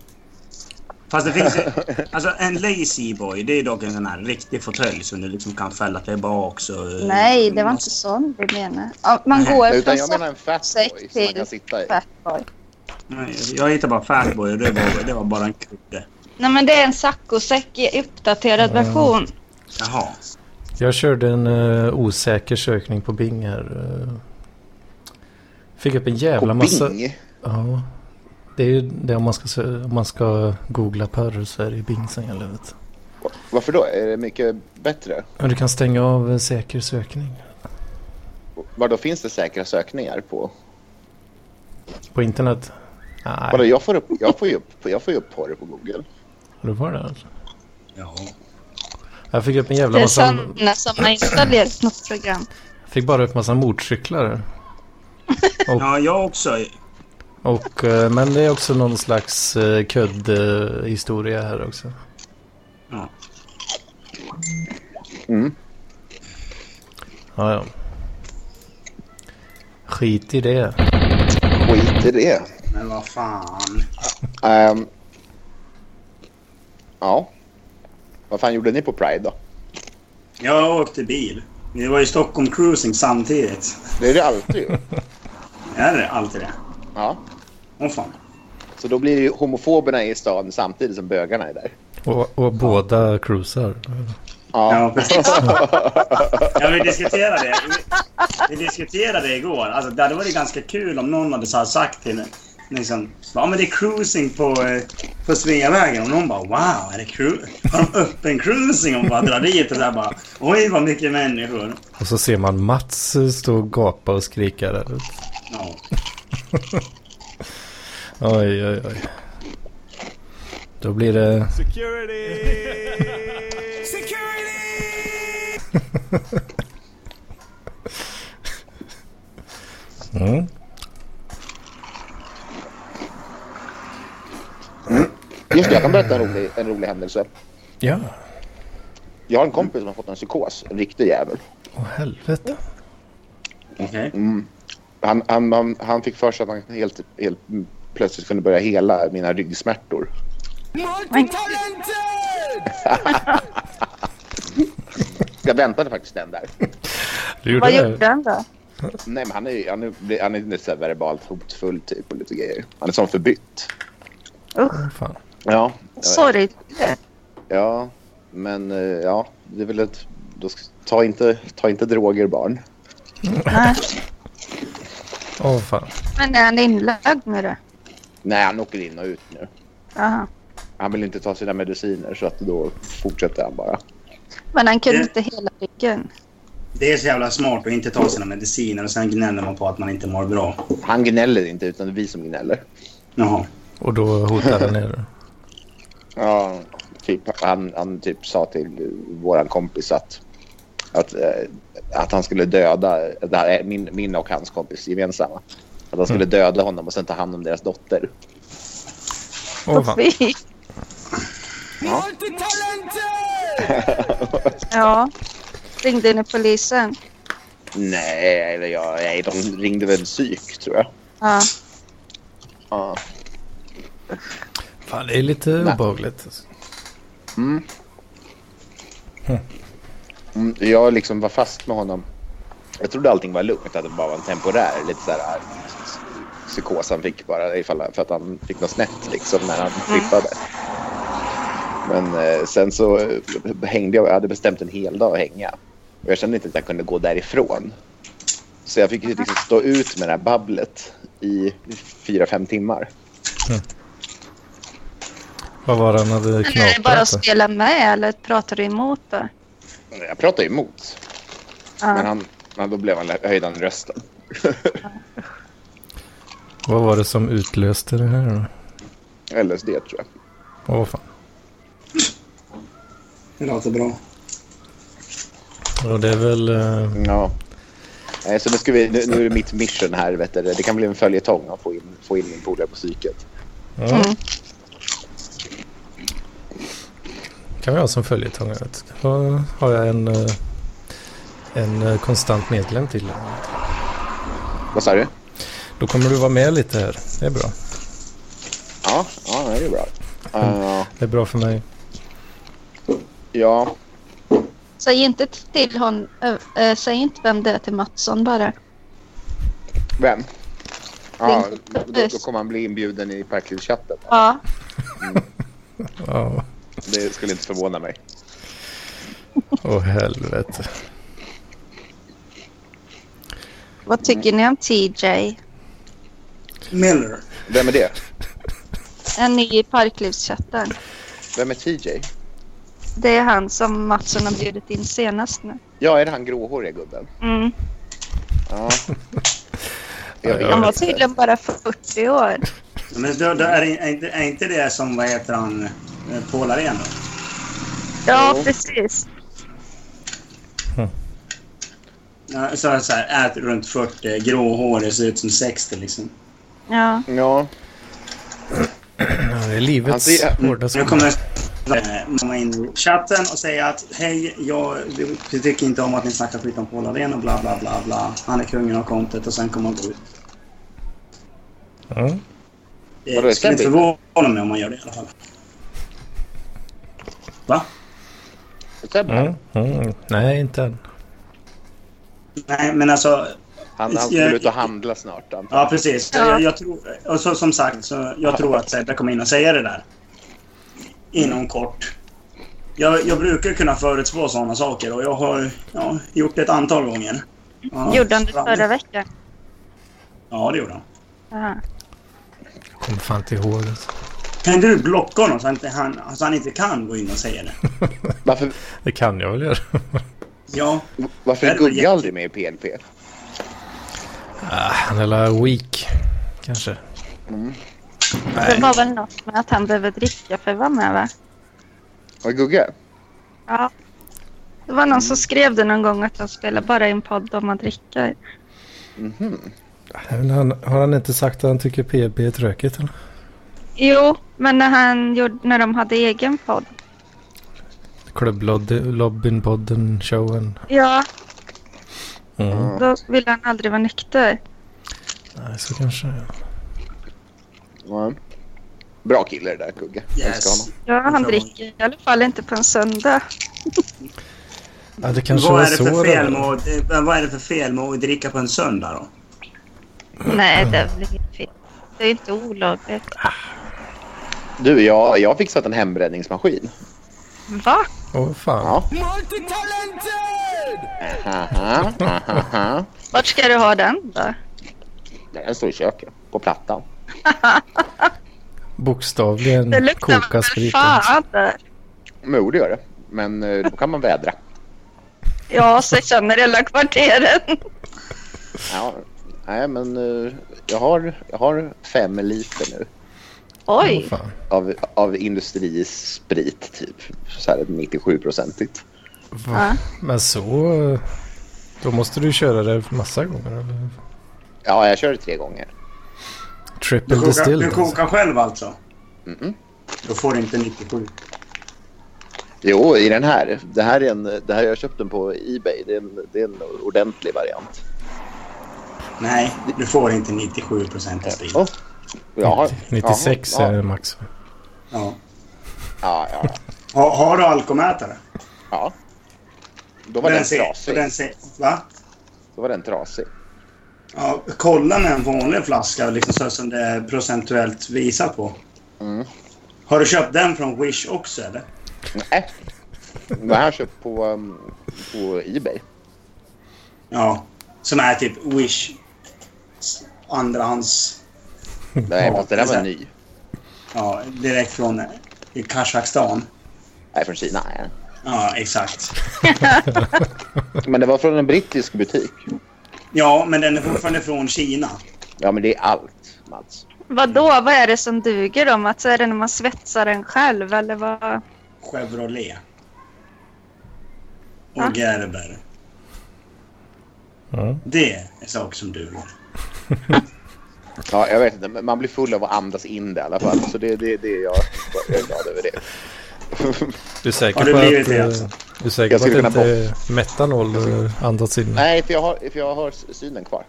Speaker 3: Fast det finns ju- Alltså en lazy boy, det är dock en sån här riktig fåtölj som du liksom kan fälla tillbaks och...
Speaker 1: nej, det var inte sån vi menade. Ja, man
Speaker 3: Nej,
Speaker 1: går
Speaker 7: Utan
Speaker 1: från
Speaker 7: jag menar en Fatboy
Speaker 1: säck
Speaker 7: som man
Speaker 1: till
Speaker 7: kan sitta i.
Speaker 1: fatboy.
Speaker 3: Nej, jag hittade bara fatboy och det var, det var bara en kudde.
Speaker 1: Nej, men det är en saccosäck i uppdaterad version.
Speaker 3: Jaha.
Speaker 2: Jag körde en eh, osäker sökning på Bing här. eh. Fick upp en jävla
Speaker 7: Och
Speaker 2: massa...
Speaker 7: Bing.
Speaker 2: Ja. Det är ju det om man ska, sö- om man ska googla porr så är det ju Bing som gäller. vet du.
Speaker 7: Varför då? Är det mycket bättre?
Speaker 2: Men du kan stänga av eh, säker sökning
Speaker 7: Var då finns det säkra sökningar på?
Speaker 2: på internet.
Speaker 7: Vadå,
Speaker 2: Nej,
Speaker 7: jag får, upp, jag får ju upp, jag får ju upp porr på Google.
Speaker 2: det var det alltså.
Speaker 3: Ja.
Speaker 2: Jag fick upp en jävla
Speaker 1: Det är
Speaker 2: massa...
Speaker 1: sådana som har installerat något program.
Speaker 2: Fick bara upp massa motorcyklar. här.
Speaker 3: ja, jag också.
Speaker 2: Och, eh, men det är också någon slags eh, kuddhistoria här också.
Speaker 3: Ja.
Speaker 7: Mm.
Speaker 2: Ja, ja. Skit i det.
Speaker 7: Skit i det.
Speaker 3: Men vad fan.
Speaker 7: Ehm, ja. Vad fan gjorde ni på Pride då?
Speaker 3: Jag åkte bil. Vi var i Stockholm cruising samtidigt.
Speaker 7: Det är det alltid ju.
Speaker 3: Är det alltid det?
Speaker 7: Ja.
Speaker 3: Åh fan.
Speaker 7: Så då blir det ju homofoberna i stan samtidigt som bögarna är där.
Speaker 2: Och, och båda cruisar.
Speaker 7: Ja.
Speaker 3: Ja, precis. <laughs> Ja, vi diskuterade det. Vi, vi diskuterade det igår. Alltså, det hade varit ganska kul om någon hade så här sagt till en, liksom, ja men det är cruising på, eh, på Sveavägen. Och någon bara wow, är det cru- har de öppen cruising? Och man bara drar dit och där bara oj vad mycket människor.
Speaker 2: Och så ser man Mats eh, stå och gapa och skrika där.
Speaker 3: Ja.
Speaker 2: Oj, oj, oj. Då blir det... <laughs> Mm.
Speaker 7: Just det, jag kan berätta en rolig, en rolig händelse.
Speaker 2: Ja,
Speaker 7: Jag har en kompis som har fått en psykos. En riktig jävel.
Speaker 2: åh helvete.
Speaker 3: Okej.
Speaker 7: Han, han, han, han fick för sig att han helt, helt plötsligt kunde börja hela mina ryggsmärtor. Jag väntade faktiskt den där.
Speaker 2: Du gjorde
Speaker 1: Vad
Speaker 2: det?
Speaker 1: gjorde han då?
Speaker 7: Nej, men han är ju han är, han är lite så här verbalt hotfull typ och lite grejer. Han är sån förbytt.
Speaker 2: Åh, Fan.
Speaker 7: Ja. jag vet.
Speaker 1: Sorry.
Speaker 7: Ja, men eh, ja, det är väl ett... Då ska, ta, inte, ta inte droger barn.
Speaker 1: Nej,
Speaker 2: Åh fan.
Speaker 1: Men är han inlagd nu då?
Speaker 7: Nej, han åker in och ut nu.
Speaker 1: Jaha.
Speaker 7: Han vill inte ta sina mediciner så att då fortsätter han bara.
Speaker 1: Men han kunde
Speaker 3: Det-
Speaker 1: inte hela ryggen.
Speaker 3: Det är så jävla smart att inte ta sina mediciner och sen gnäller man på att man inte mår bra.
Speaker 7: Han gnäller inte utan det är vi som gnäller.
Speaker 3: Jaha.
Speaker 2: Och då hotade han er.
Speaker 7: Ja, typ, han, han typ sa till eh, våran kompis att, att, eh, att han skulle döda det här är min, min och hans kompis gemensamma. Att han skulle döda honom och sen ta hand om deras dotter.
Speaker 2: Åh fan.
Speaker 1: Fy. <laughs> Ja. Ringde ni polisen?
Speaker 7: Nej, eller jag, nej, de ringde väl psyk tror jag.
Speaker 1: Ja.
Speaker 7: Ja.
Speaker 2: Fan, det är lite obehagligt.
Speaker 7: Mm, Jag liksom var fast med honom. Jag trodde allting var lugnt, att det bara var en temporär lite så här, äh, psykos han fick bara ifall, för att han fick något snett liksom när han trippade. Men eh, sen så eh, hängde jag, jag hade bestämt en hel dag att hänga. Och jag kände inte att jag kunde gå därifrån. Så jag fick ju liksom stå ut med det här babblet i i fyra fem timmar.
Speaker 2: Vad var det han hade
Speaker 1: Men är det
Speaker 2: knaprat?
Speaker 1: bara att
Speaker 2: då?
Speaker 1: spela med eller pratar du emot då?
Speaker 7: Jag pratar ju emot, men,
Speaker 1: Ja.
Speaker 7: han, men då blev han höjdan i rösten.
Speaker 2: Vad var det som utlöste det här då?
Speaker 7: LSD tror jag.
Speaker 2: Åh fan.
Speaker 3: Det låter bra.
Speaker 2: Och det är väl... eh,
Speaker 7: Ja. Nej, Så nu, ska vi, nu, nu är det mitt mission här. Vet du. Det kan bli en följetong att få in, få in min polare på psyket.
Speaker 2: ja. kan vi ha som följetong. jag vet. Då har jag en, eh, en eh, konstant medlem till.
Speaker 7: Vad sa du?
Speaker 2: Då kommer du vara med lite här. Det är bra.
Speaker 7: Ja, ja det är bra. Eh,
Speaker 2: Det är bra för mig.
Speaker 7: ja,
Speaker 1: Säg inte till hon, ö, ö, säg inte vem det är till Mattsson bara.
Speaker 7: vem? Ja, då, då kommer han bli inbjuden i Parklivschatten.
Speaker 1: Ja,
Speaker 2: Ja.
Speaker 7: Det skulle inte förvåna mig.
Speaker 2: Åh helvete.
Speaker 1: vad tycker ni om TJ?
Speaker 3: Miller.
Speaker 7: Vem är det?
Speaker 1: En ny i Parklivschatten.
Speaker 7: Vem är TJ?
Speaker 1: Det är han som Mattsson har bjudit in senast nu.
Speaker 7: Ja, är det han gråhåriga gubben?
Speaker 1: Mm.
Speaker 7: Ja.
Speaker 2: Ja,
Speaker 7: Jag
Speaker 2: ja.
Speaker 1: Han var
Speaker 7: vet inte.
Speaker 1: tydligen bara 40 år.
Speaker 3: Men då, då är, det, är, inte, är inte det som, vad heter han, eh, Paul Arena?
Speaker 1: Ja,
Speaker 7: Jo.
Speaker 1: precis.
Speaker 3: Ja, Så, så här, ät runt 40, gråhårig, ser ut som 60 liksom.
Speaker 1: Ja.
Speaker 7: Ja,
Speaker 2: Ja, Det är livets
Speaker 7: Han ser-
Speaker 2: hårda
Speaker 3: Nu
Speaker 2: skola.
Speaker 3: kommer eh, mamma in i chatten och säga att hej, jag vi tycker inte om att ni snackar skit om Paul Arena och bla bla bla bla. Han är kungen av kontot och sen kommer han gå ut.
Speaker 2: Ja.
Speaker 3: Eh,
Speaker 7: Vadå,
Speaker 3: Det skulle inte
Speaker 7: Kevin?
Speaker 3: förvåna mig om man gör det i alla fall. Va?
Speaker 7: Sebbe.
Speaker 2: Mm, mm. Nej, inte än.
Speaker 3: Nej, men alltså
Speaker 7: Han, han skulle ut och handla snart. Anton.
Speaker 3: Ja, precis.
Speaker 1: Ja.
Speaker 3: Jag, jag tror, och så, som sagt, så jag tror att Sebbe kommer in och säga det där. Inom kort. Jag, jag brukar kunna förutspå sådana saker och jag har ja, gjort det ett antal gånger. Ja,
Speaker 1: Gjorde han det
Speaker 3: fram-
Speaker 1: förra veckan?
Speaker 3: Ja, det gjorde han.
Speaker 1: Aha.
Speaker 2: Kommer fan inte ihåg. alltså.
Speaker 3: Kan du blocka honom så att inte han, så han inte kan gå in och säga det?
Speaker 7: Varför,
Speaker 2: Det kan jag väl göra. <laughs>
Speaker 3: Ja,
Speaker 7: varför är
Speaker 3: Det var
Speaker 7: Gugge aldrig med i PNP?
Speaker 2: Ah, Han är la weak, kanske.
Speaker 1: Det var väl något med att han behöver dricka för att vara med, va?
Speaker 7: Var det Gugge?
Speaker 1: Ja. Det var någon som skrev det någon gång att han spelar bara i en podd om man dricker.
Speaker 2: Men han, har han inte sagt att han tycker PLP är tråkigt? Eller?
Speaker 1: Jo, men när, han gjorde, när de hade egen podd.
Speaker 2: Klubblobbyn-podden, showen.
Speaker 1: Ja,
Speaker 2: Mm.
Speaker 1: då ville han aldrig vara nykter.
Speaker 2: Nej, så kanske.
Speaker 7: Ja. Bra kille det där Gugge. Jag Älskar
Speaker 3: yes.
Speaker 7: honom.
Speaker 1: Ja, han
Speaker 3: var-
Speaker 1: dricker i alla fall inte på en söndag.
Speaker 2: Ja, det kanske
Speaker 3: Vad
Speaker 2: var
Speaker 3: är, det
Speaker 2: så.
Speaker 3: för fel med,
Speaker 2: det
Speaker 3: att- eh, vad är det för fel med att dricka på en söndag då?
Speaker 1: Nej, det är väl inget fel. Det är inte olagligt.
Speaker 7: Du, jag, jag har fixat en hembrännningsmaskin.
Speaker 1: Va?
Speaker 2: Åh, fan.
Speaker 7: Ja. Aha, aha.
Speaker 1: Vart ska du ha den då?
Speaker 7: Den står i köket, på plattan.
Speaker 1: Det
Speaker 2: Bokstavligen
Speaker 1: luktar
Speaker 2: Mm, koka
Speaker 1: väl
Speaker 2: spriten.
Speaker 1: fan där.
Speaker 7: Jo, det gör det. Men eh, då kan man vädra.
Speaker 1: Ja, så känner hela kvarteren.
Speaker 7: Ja, nej, men eh, jag, har, jag har fem liter nu
Speaker 1: Oj,
Speaker 2: Fan.
Speaker 7: av, av industrisprit, typ. Så här 97-procentigt.
Speaker 1: Ja.
Speaker 2: Men så... eh, Då måste du köra det massa gånger. Eller?
Speaker 7: Ja, jag kör det tre gånger.
Speaker 2: Triple
Speaker 3: Du kokar,
Speaker 2: distilled.
Speaker 3: du
Speaker 2: Alltså.
Speaker 3: kokar själv alltså?
Speaker 7: Mhm.
Speaker 3: Då får du inte 97.
Speaker 7: Jo, i den här. Det här är en, det här jag köpte den på Ebay. Det är en, det är en ordentlig variant.
Speaker 3: Nej, du får inte 97 procent av sprit.
Speaker 7: Oh. Jaha.
Speaker 2: 96
Speaker 7: Jaha.
Speaker 2: är det max.
Speaker 3: Ja.
Speaker 7: Ja, ja, ja.
Speaker 3: Ha, har du alkomätare?
Speaker 7: ja. Då var den,
Speaker 3: ser,
Speaker 7: trasig.
Speaker 3: den ser, va?
Speaker 7: Då var den trasig.
Speaker 3: Ja, kolla med en vanlig flaska liksom, så som det är procentuellt visat på.
Speaker 7: Mm.
Speaker 3: Har du köpt den från Wish också eller?
Speaker 7: Nej. Den här har jag köpt på, um, på Ebay.
Speaker 3: Ja. Som är typ Wish andrahands...
Speaker 7: Nej, fast det där var ny.
Speaker 3: Ja, direkt från eh, Kazakstan.
Speaker 7: Nej, från Kina. Nej.
Speaker 3: Ja, exakt.
Speaker 7: Men det var från en brittisk butik.
Speaker 3: Ja, men den är fortfarande från Kina.
Speaker 7: Ja, men det är allt, Mats.
Speaker 1: Vadå, vad är det som duger då Mats? Är det när man svetsar den själv eller vad?
Speaker 3: Chevrolet. Och
Speaker 1: Ja.
Speaker 3: Gerber.
Speaker 2: Ja.
Speaker 3: Det är saker som duger.
Speaker 7: Ja, jag vet inte. men Man blir full av att andas in det i alla fall. Så det, det, det är jag, jag är glad över det.
Speaker 2: Du är säker
Speaker 3: Har det
Speaker 2: på att,
Speaker 3: blivit det,
Speaker 2: eh,
Speaker 3: alltså?
Speaker 2: du är säker
Speaker 7: Jag
Speaker 2: på att
Speaker 7: skulle
Speaker 2: det
Speaker 7: kunna
Speaker 2: inte är metanol eh, andats in?
Speaker 7: Nej, för jag har, för jag har synen kvar.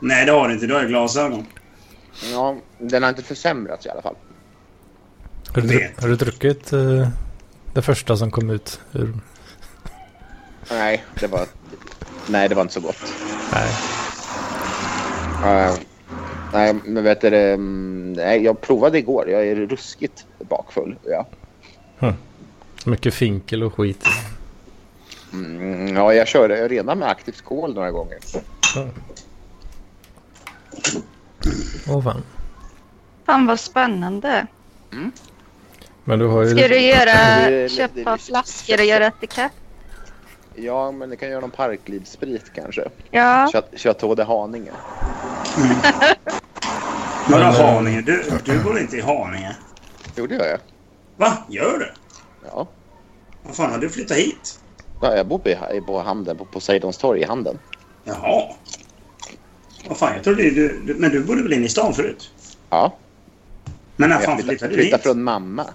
Speaker 3: Nej, det har du inte. Du har ju glasögon.
Speaker 7: Ja, den har inte försämrats i alla fall.
Speaker 2: Har du, dru-
Speaker 3: vet.
Speaker 2: har du druckit eh, det första som kom ut? Ur...
Speaker 7: Nej, det var, nej, det var inte så gott.
Speaker 2: Nej.
Speaker 7: Eh, nej, men vet du, det, mm, nej, jag provade igår. Jag är ruskigt bakfull. Ja.
Speaker 2: Mycket finkel och skit.
Speaker 7: Mm, ja, jag körde jag redan med aktivt kol några gånger.
Speaker 2: Åh fan.
Speaker 1: Fan vad spännande.
Speaker 2: Men du har ju...
Speaker 1: Ska du
Speaker 7: det
Speaker 1: göra,
Speaker 7: är-
Speaker 1: köpa flaskor och göra etikett?
Speaker 7: Ja, men det kan göra någon parklivssprit kanske.
Speaker 1: Ja,
Speaker 7: Chat- Chateau de Haninge.
Speaker 3: Vadå
Speaker 2: Men, eh,
Speaker 3: Haninge? Du, du bor inte i Haninge?
Speaker 7: Jo, det gör jag.
Speaker 3: Va? Gör du?
Speaker 7: Ja.
Speaker 3: Vad fan, har du flyttat hit?
Speaker 7: Ja, jag bor på, i- på Hamden, på Poseidons torg i Hamden.
Speaker 3: Jaha. Vad fan, jag trodde ju du... du- Men du bodde väl inne i stan förut?
Speaker 7: Ja,
Speaker 3: Men när
Speaker 7: jag
Speaker 3: fan
Speaker 7: flyttade,
Speaker 3: flyttade du
Speaker 7: flyttade
Speaker 3: hit?
Speaker 7: från mamma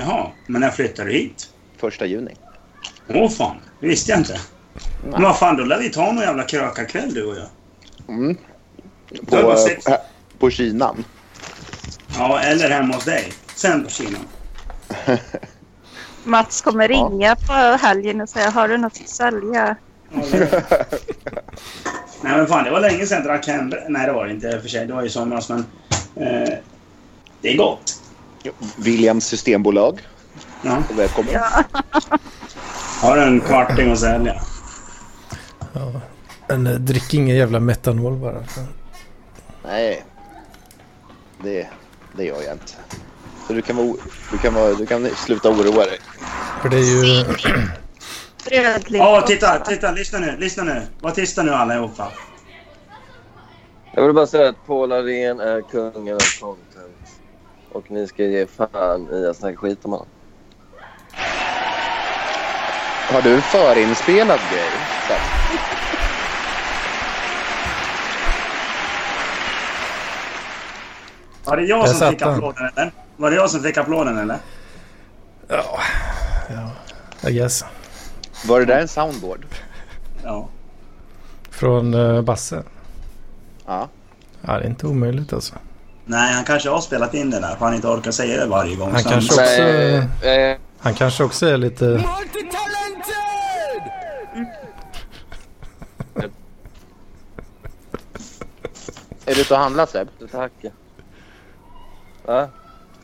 Speaker 3: Jaha, men när flyttade du hit?
Speaker 7: första juni.
Speaker 3: Åh fan, det visste jag inte. Men vad fan, då lär vi ta någon jävla krökarkväll du och jag.
Speaker 7: Mm. På,
Speaker 3: Det var sex.
Speaker 7: äh, på Kinan.
Speaker 3: Ja, eller hemma hos dig. Sen på Kina.
Speaker 1: Mats kommer ringa på helgen och säga har du något att sälja?
Speaker 3: Ja, det- Nej men fan, det var länge sedan jag drack hembränt. Nej det var det inte i och för sig. Det var i somras men... Eh, det är gott.
Speaker 7: Williams systembolag.
Speaker 3: Ja.
Speaker 7: Välkommen.
Speaker 3: Har en kvarting att sälja.
Speaker 2: Men eh, drick ingen jävla metanol bara.
Speaker 7: Nej, det, det gör jag inte. Så du kan, vara, o- du, kan vara, du kan sluta oroa dig.
Speaker 2: För det är ju...
Speaker 1: Brödlimpa.
Speaker 3: Ja, titta, titta, lyssna nu, lyssna nu. Var tysta nu allihopa.
Speaker 8: Jag vill bara säga att Paul Arén är kungen av content. Och ni ska ge fan i att snacka skit om honom.
Speaker 7: Har du en förinspelad grej? Så att-
Speaker 3: Var det
Speaker 2: Där
Speaker 3: jag som
Speaker 2: satt
Speaker 3: fick
Speaker 2: han.
Speaker 3: applåden eller? Var det jag som fick applåden eller?
Speaker 2: Ja, ja I guess.
Speaker 7: Var det där en soundboard?
Speaker 3: Ja.
Speaker 2: Från eh, Basse.
Speaker 7: Ja.
Speaker 2: Ja, det är inte omöjligt alltså.
Speaker 3: Nej, han kanske har spelat in det där för han inte orkar säga det varje gång.
Speaker 2: Han
Speaker 3: Så
Speaker 2: kanske också,
Speaker 8: Nej, eh,
Speaker 2: han kanske också är lite...
Speaker 7: Är du ute och handlar Seb?
Speaker 8: du tackar. Va?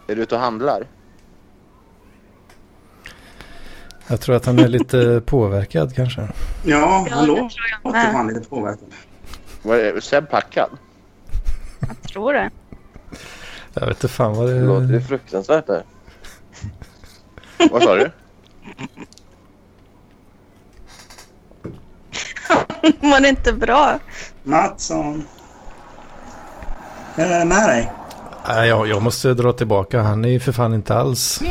Speaker 7: Är du ute och handlar?
Speaker 2: Jag tror att han är lite påverkad kanske.
Speaker 3: Ja,
Speaker 1: Ja,
Speaker 3: han
Speaker 1: det
Speaker 3: låter
Speaker 1: tror jag med.
Speaker 3: fan lite påverkad.
Speaker 7: Var är Seb packad?
Speaker 1: Jag tror det.
Speaker 2: Jag vet inte fan vad det
Speaker 8: Det låter ju
Speaker 2: är.
Speaker 8: fruktansvärt där.
Speaker 7: Vad sa du?
Speaker 1: <laughs> Mår det inte bra?
Speaker 3: Mattsson. Är det med dig?
Speaker 2: Nej, jag, jag måste dra tillbaka. Han är ju för fan inte alls...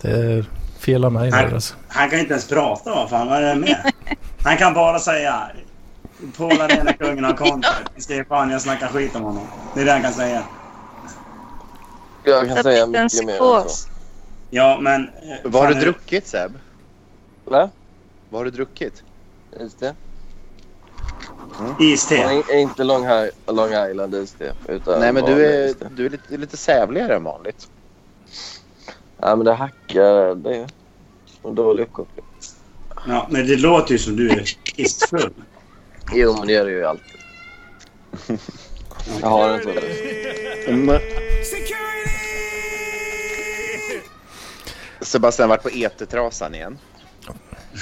Speaker 2: Det är fel av mig
Speaker 3: Nej.
Speaker 2: där alltså.
Speaker 3: Han kan inte ens prata va fan, vad är det <laughs> med? Han kan bara säga Paul Arena, kungen av content. Vi ska ge fan jag snackar skit om honom. Det är det han kan säga.
Speaker 8: Jag kan
Speaker 1: Jag
Speaker 8: säga
Speaker 1: fick en
Speaker 8: mycket mer än
Speaker 1: psykos.
Speaker 8: så.
Speaker 3: Ja, men... eh,
Speaker 7: Vad har
Speaker 3: fan,
Speaker 7: du
Speaker 3: är-
Speaker 7: druckit Seb?
Speaker 8: Va?
Speaker 7: Vad har du druckit?
Speaker 8: Just det.
Speaker 3: Iste.
Speaker 8: Nej, inte Long, Hi- Long Island just det. Utan
Speaker 7: Nej men du
Speaker 8: vanlig
Speaker 7: är,
Speaker 8: just det.
Speaker 7: du är lite, lite sävligare än vanligt.
Speaker 8: Ja men det hackar. Det är en dålig uppkoppling.
Speaker 3: Ja, men det låter ju som du är
Speaker 8: <laughs>
Speaker 3: istfull.
Speaker 8: Jo men det gör det ju alltid. Jag har en sån.
Speaker 7: Sebastian har varit på etetrasan E igen.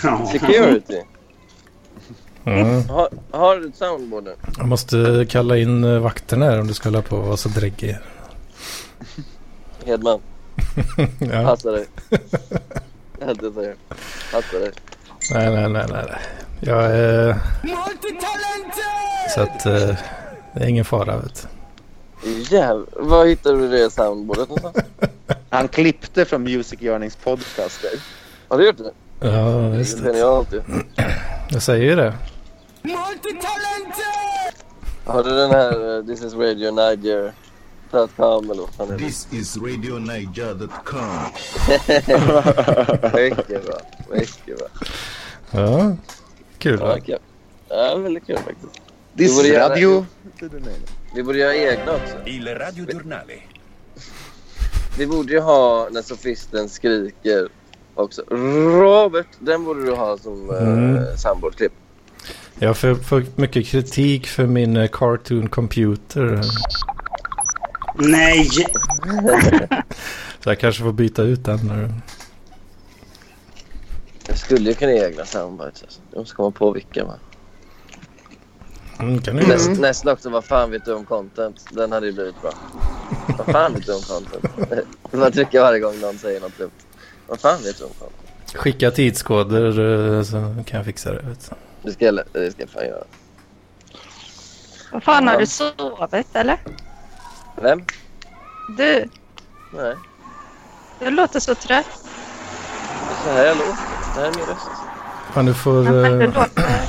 Speaker 3: Ja.
Speaker 8: Security.
Speaker 2: Mm.
Speaker 8: Har, har du ett soundboard nu?
Speaker 2: Jag måste kalla in eh, vakterna här om du ska hålla på och vara så dräggig.
Speaker 8: Hedman,
Speaker 2: ja.
Speaker 8: passa <laughs> dig. Helvete säger jag. Passa dig.
Speaker 2: Nej, nej, nej, nej. nej. Jag är... Så att eh, det är ingen fara. Vet
Speaker 8: Jävlar, var hittade du det soundboardet någonstans?
Speaker 7: Han klippte från Music Yearnings podcaster.
Speaker 8: Har du gjort det?
Speaker 2: du. Ja,
Speaker 8: Det
Speaker 2: visst.
Speaker 8: är genialt ju.
Speaker 2: Jag säger ju det.
Speaker 8: Har du den här eh, This is Radio Niger? .com eller vad fan är <laughs> det?
Speaker 6: This is RadioNiger.com.
Speaker 8: Mycket bra. Mycket bra.
Speaker 2: Ja, kul.
Speaker 8: Ja,
Speaker 2: va?
Speaker 8: kul. Ja, väldigt kul faktiskt.
Speaker 7: This
Speaker 8: borde göra-
Speaker 7: radio...
Speaker 8: Vi borde göra egna också.
Speaker 5: Il radiogiornale.
Speaker 8: Vi borde ju ha när sofisten skriker också. Robert, den borde du ha som
Speaker 2: Mm.
Speaker 8: mm. soundboardklipp.
Speaker 2: Jag får, får mycket kritik för min eh, cartoon computer.
Speaker 3: Nej!
Speaker 2: Så jag kanske får byta ut den. nu.
Speaker 8: Jag skulle ju kunna göra egna soundbites. Alltså. Jag måste komma på vilka. va?
Speaker 2: Mm, kan du
Speaker 8: Näst,
Speaker 2: göra.
Speaker 8: Nästa också, vad fan vet du om content? Den hade ju blivit bra. Vad fan vet du om content? <laughs> Man trycker varje gång någon säger något dumt. Vad fan vet du om content?
Speaker 2: Skicka tidskoder eh, så kan jag fixa det. Vet du.
Speaker 8: Det ska, jag- det ska jag fan göra.
Speaker 1: Vad fan har du sovit eller?
Speaker 8: Vem?
Speaker 1: Du,
Speaker 8: Nej,
Speaker 1: du låter så trött.
Speaker 8: det är så här jag låter. Det här är min röst.
Speaker 2: Fan, du får,
Speaker 1: Men du
Speaker 2: eh,
Speaker 1: låter...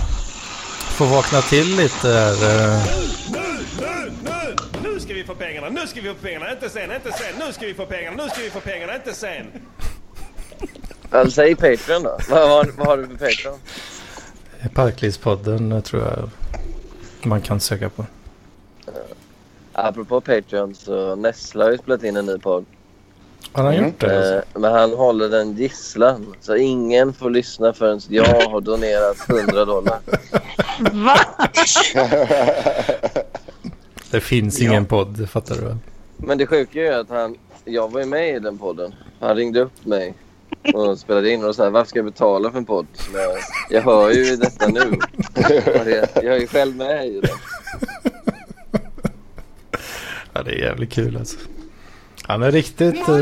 Speaker 2: får vakna till lite här. eh.
Speaker 9: Nu, nu, nu! Nu ska vi få pengarna, nu ska vi få pengarna, inte sen, inte sen, nu ska vi få pengarna, nu ska vi få pengarna, inte sen!
Speaker 8: Alltså, säg Patreon då. Vad, vad, vad har du för Patreon?
Speaker 2: Parklivspodden eh, tror jag man kan söka på.
Speaker 8: Apropå Patreon så Nessla har ju spelat in en ny podd.
Speaker 2: Har han gjort det?
Speaker 8: Eh, men han håller den gisslan. Så ingen får lyssna förrän jag har donerat 100 dollar.
Speaker 1: Va?
Speaker 2: Det finns ingen podd, det fattar du väl?
Speaker 8: Men det sjuka är ju att han, jag var ju med i den podden. Han ringde upp mig och spelade in och sa varför ska jag betala för en podd? som Jag, jag hör ju detta nu. Och det- Jag är ju själv med i den.
Speaker 2: Ja, det är jävligt kul alltså. Han är riktigt eh,